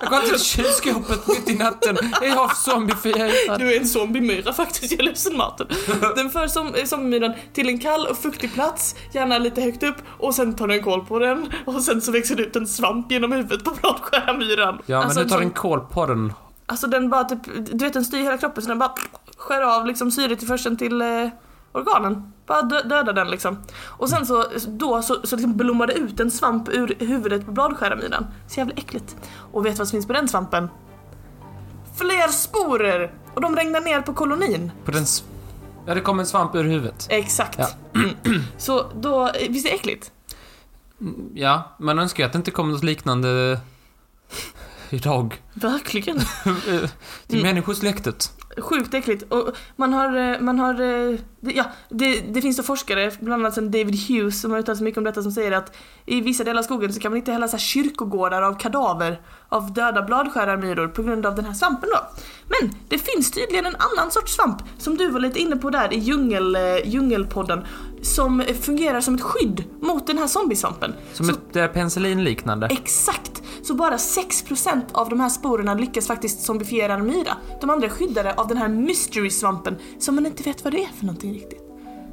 Speaker 1: Jag går till kylskåpet mitt i natten. Jag har zombiefierad.
Speaker 2: Du är en zombiemyra faktiskt, jag är ledsen Martin. Den för som, eh, zombiemyran till en kall och fuktig plats, gärna lite högt upp och sen tar den koll på den och sen så växer det ut en svamp genom huvudet på bladskärarenmyran.
Speaker 1: Ja, men
Speaker 2: Alltså,
Speaker 1: nu tar
Speaker 2: som-
Speaker 1: den kol på den.
Speaker 2: Alltså den bara typ, du vet den styr hela kroppen så den bara skär av liksom syretillförseln till eh, organen. Bara dö- dödar den liksom. Och sen så, då så, så liksom blommar det ut en svamp ur huvudet på bladskäramyran. Så jävla äckligt. Och vet du vad som finns på den svampen? Fler sporer! Och de regnar ner på kolonin.
Speaker 1: På den... s- Ja, det kom en svamp ur huvudet.
Speaker 2: Exakt.
Speaker 1: Ja.
Speaker 2: Mm. Så då, eh, visst är det äckligt?
Speaker 1: Mm, Ja, man önskar ju att det inte kom något liknande idag.
Speaker 2: Verkligen.
Speaker 1: Till
Speaker 2: Mm.
Speaker 1: människosläktet.
Speaker 2: Sjukt äckligt. Och man har, eh, man har eh, det- ja, det, det finns då forskare, bland annat en David Hughes som har uttalat sig mycket om detta som säger att i vissa delar av skogen så kan man inte hälla så här kyrkogårdar av kadaver av döda bladskäramyror på grund av den här svampen då. Men det finns tydligen en annan sorts svamp som du var lite inne på där i djungel, eh, djungelpodden som eh, fungerar som ett skydd mot den här zombiesvampen.
Speaker 1: Som
Speaker 2: Så-
Speaker 1: ett eh, penicillinliknande.
Speaker 2: Exakt! Så bara 6% av de här sporerna lyckas faktiskt zombifiera en myra. De andra är skyddade av den här mystery-svampen som man inte vet vad det är för någonting riktigt.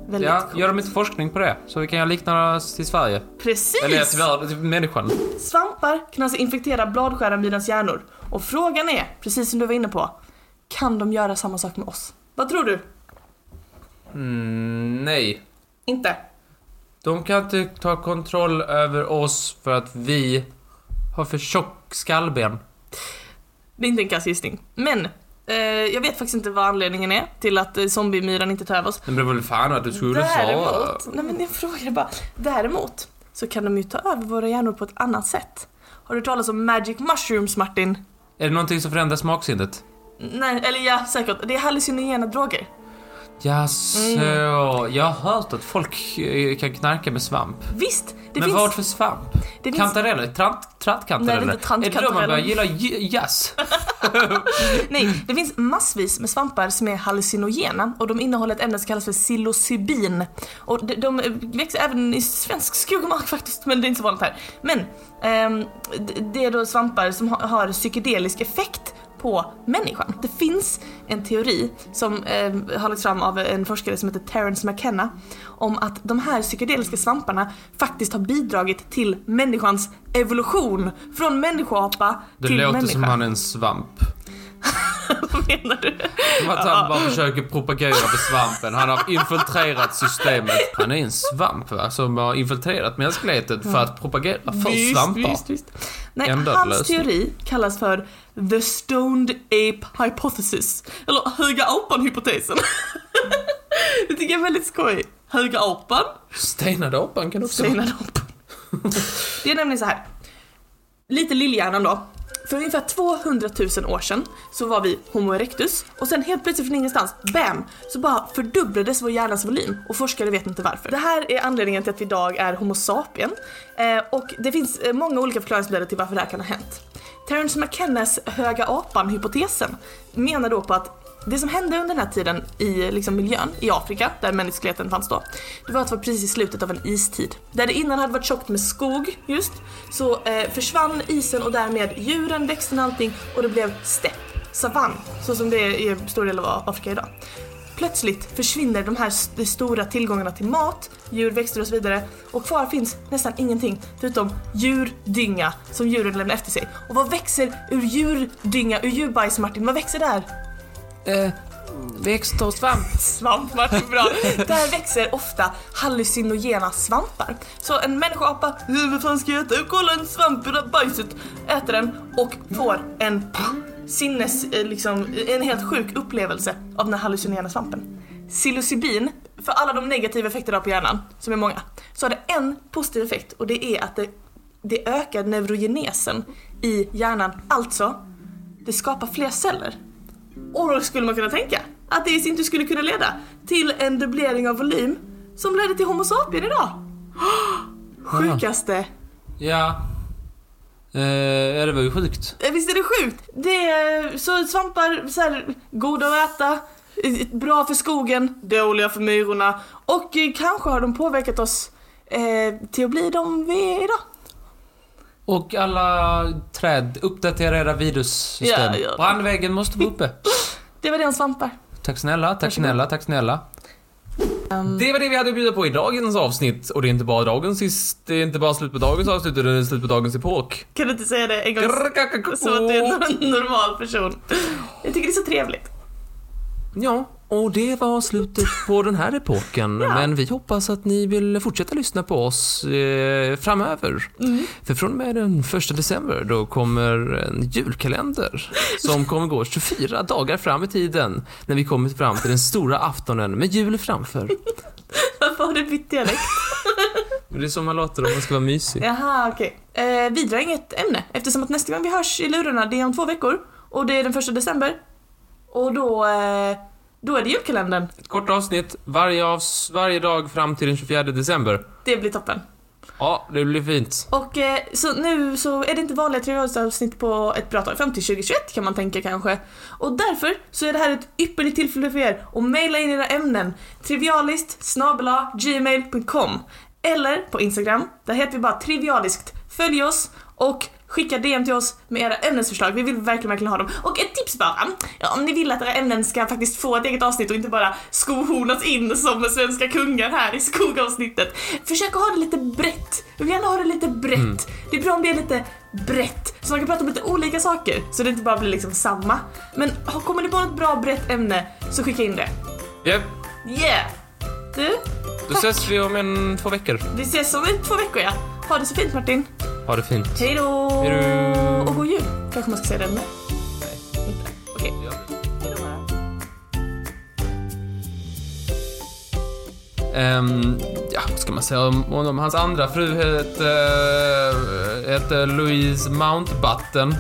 Speaker 2: Väldigt
Speaker 1: Ja,
Speaker 2: coolt.
Speaker 1: gör de inte forskning på det? Så vi kan göra liknande till Sverige.
Speaker 2: Precis!
Speaker 1: Eller till världen, till människan.
Speaker 2: Svampar kan alltså infektera bladskäramyrans hjärnor. Och frågan är, precis som du var inne på, kan de göra samma sak med oss? Vad tror du?
Speaker 1: Mm, nej.
Speaker 2: Inte.
Speaker 1: De kan inte ta kontroll över oss för att vi har för tjock skallben.
Speaker 2: Det är inte en kass gissning. Men, eh, jag vet faktiskt inte vad anledningen är till att eh, zombiemyran inte tar över oss.
Speaker 1: Men det var väl fan att du skulle svara.
Speaker 2: Däremot, nej men jag frågar bara. Däremot så kan de ju ta över våra hjärnor på ett annat sätt. Har du talat om magic mushrooms Martin?
Speaker 1: Är det någonting som förändrar smaksinnet?
Speaker 2: Nej, eller ja säkert. Det är hallucinogena droger.
Speaker 1: Jaså, Mm. jag har hört att folk eh, kan knarka med svamp.
Speaker 2: Visst, det
Speaker 1: Men
Speaker 2: finns...
Speaker 1: vad för svamp?
Speaker 2: Det finns
Speaker 1: Kantareller? Trant, trattkantareller?
Speaker 2: Nej, det är inte
Speaker 1: Är det då man
Speaker 2: trantkantareller.
Speaker 1: börjar gilla j- jazz?
Speaker 2: nej, det finns massvis med svampar som är hallucinogena och de innehåller ett ämne som kallas för psilocybin. Och de, de växer även i svensk skog och mark faktiskt, men det är inte så vanligt här. Men ehm, d- det är då svampar som ha- har psykedelisk effekt på människan. Det finns en teori som eh, har lagts fram av en forskare som heter Terence McKenna om att de här psykedeliska svamparna faktiskt har bidragit till människans evolution från människoapa
Speaker 1: Det
Speaker 2: till
Speaker 1: låter
Speaker 2: människa.
Speaker 1: som han är en svamp.
Speaker 2: Vad menar du?
Speaker 1: Som att han bara försöker propagera för svampen. Han har infiltrerat systemet. Han är en svamp va? Som har infiltrerat mänskligheten för att propagera för svampar.
Speaker 2: visst. Nej,
Speaker 1: En död
Speaker 2: hans
Speaker 1: lösning.
Speaker 2: teori kallas för The Stoned Ape Hypothesis. Eller Höga Apan-hypotesen. det tycker jag är väldigt skoj. Höga Apan,
Speaker 1: Stenade apan kan också
Speaker 2: senare apan. det är nämligen så här. Lite lillhjärnan då. För ungefär 200 000 år sedan så var vi Homo erectus och sen helt plötsligt från ingenstans, BAM! Så bara fördubblades vår hjärnas volym och forskare vet inte varför. Det här är anledningen till att vi idag är Homo sapien eh, och det finns eh, många olika förklaringsmodeller till varför det här kan ha hänt. Terence McKennas höga apan-hypotesen menar då på att det som hände under den här tiden i liksom, miljön i Afrika, där mänskligheten fanns då, det var att det var precis i slutet av en istid. Där det innan hade varit tjockt med skog, just, så eh, försvann isen och därmed djuren, växterna och allting och det blev stepp, savann, så som det är i stor del av Afrika idag. Plötsligt försvinner de här st- stora tillgångarna till mat, djur, växter och så vidare och kvar finns nästan ingenting förutom djurdynga som djuren lämnar efter sig. Och vad växer ur djurdynga, ur djurbajs Martin? Vad växer där?
Speaker 1: Eh, växter och svamp.
Speaker 2: svamp Martin, bra. Där växer ofta hallucinogena svampar. Så en människoapa, "Hur, vad fan ska jag äta? Kolla en svamp i det här bajset. Äter den och får en sinnes, eh, liksom, en helt sjuk upplevelse av den här hallucinogena svampen. Psilocybin, för alla de negativa effekterna på hjärnan, som är många, så har det en positiv effekt och det är att det, det ökar neurogenesen i hjärnan. Alltså, det skapar fler celler. Och då skulle man kunna tänka att det i sin tur skulle kunna leda till en dubblering av volym som ledde till Homo sapien idag. Sjukaste.
Speaker 1: Ja. Eh, ja, det var ju sjukt.
Speaker 2: Eh, Visst är det sjukt? Det är, eh, så svampar, så här, goda att äta, eh, bra för skogen, dåliga för myrorna och eh, kanske har de påverkat oss eh, till att bli de vi är idag.
Speaker 1: Och alla träd, uppdatera era virussystem.
Speaker 2: Ja, gör det.
Speaker 1: Brandväggen måste vara uppe.
Speaker 2: Det var den svampar.
Speaker 1: Tack snälla, tack
Speaker 2: Varsågod.
Speaker 1: snälla, tack snälla.
Speaker 2: Ehm,
Speaker 1: Det var det vi hade att bjuda på i dagens avsnitt. Och det är inte bara dagens sist, det är inte bara slut på dagens avsnitt, utan det är slut på dagens epok.
Speaker 2: Kan du inte säga det en gång så att du är en normal person? Jag tycker det är så trevligt.
Speaker 1: Ja, och det var slutet på den här epoken.
Speaker 2: Ja.
Speaker 1: Men vi hoppas att ni vill fortsätta lyssna på oss eh, framöver. För från och med den första december då kommer en julkalender som kommer gå 24 dagar fram i tiden när vi kommer fram till den stora aftonen med jul framför.
Speaker 2: Varför har du bytt dialekt?
Speaker 1: Det är som man låter om man ska vara mysig.
Speaker 2: Jaha, okej. Eh, vi drar inget ämne eftersom att nästa gång vi hörs i lurarna det är om två veckor och det är den första december. Och då, eh, då är det julkalendern.
Speaker 1: Ett kort avsnitt varje, avs varje dag fram till den 24 december.
Speaker 2: Det blir toppen.
Speaker 1: Ja, det blir fint.
Speaker 2: Och eh, så nu så är det inte vanliga trivialsavsnitt på ett bra tag, fram till 2021 kan man tänka kanske. Och därför så är det här ett ypperligt tillfälle för er att mejla in era ämnen trivialist snabela gmail.com eller på Instagram, där heter vi bara trivialiskt. Följ oss och skicka DM till oss med era ämnesförslag, vi vill verkligen, verkligen ha dem. Och ett tips bara, ja, om ni vill att era ämnen ska faktiskt få ett eget avsnitt och inte bara skohornas in som svenska kungar här i skogavsnittet. Försök att ha det lite brett. Vi vill gärna ha det lite brett. Det är bra om det är lite brett, så man kan prata om lite olika saker så det inte bara blir liksom samma. Men ha- kommer ni på något bra brett ämne så skicka in det.
Speaker 1: Japp,
Speaker 2: Yeah! Du,
Speaker 1: då ses vi om en två veckor.
Speaker 2: vi ses om två veckor ja. Ha det så fint Martin.
Speaker 1: Ha det fint.
Speaker 2: Hej då!
Speaker 1: Hejdå!
Speaker 2: Och god jul, kanske man ska säga det med. Inte. Okej, hej då bara.
Speaker 1: Ehm, ja, vad ska man säga om honom? Hans andra fru hette, hette Louise Mountbatten.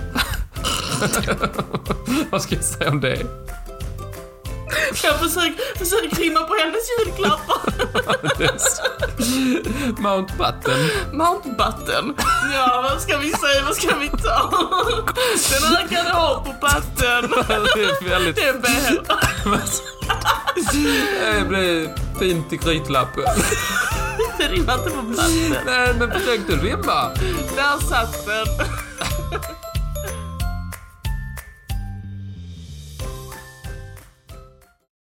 Speaker 1: vad ska jag säga om det?
Speaker 2: Jag försöker, försöker rimma på hennes julklappar.
Speaker 1: Mountbatten.
Speaker 2: Mountbatten. Ja, vad ska vi säga, vad ska vi ta? Den ökade har på batten.
Speaker 1: det är väldigt...
Speaker 2: Det är bäst.
Speaker 1: Det blir fint i grytlapp.
Speaker 2: Det rimmar inte på batten.
Speaker 1: Nej, men försök du rimma.
Speaker 2: Där satt den.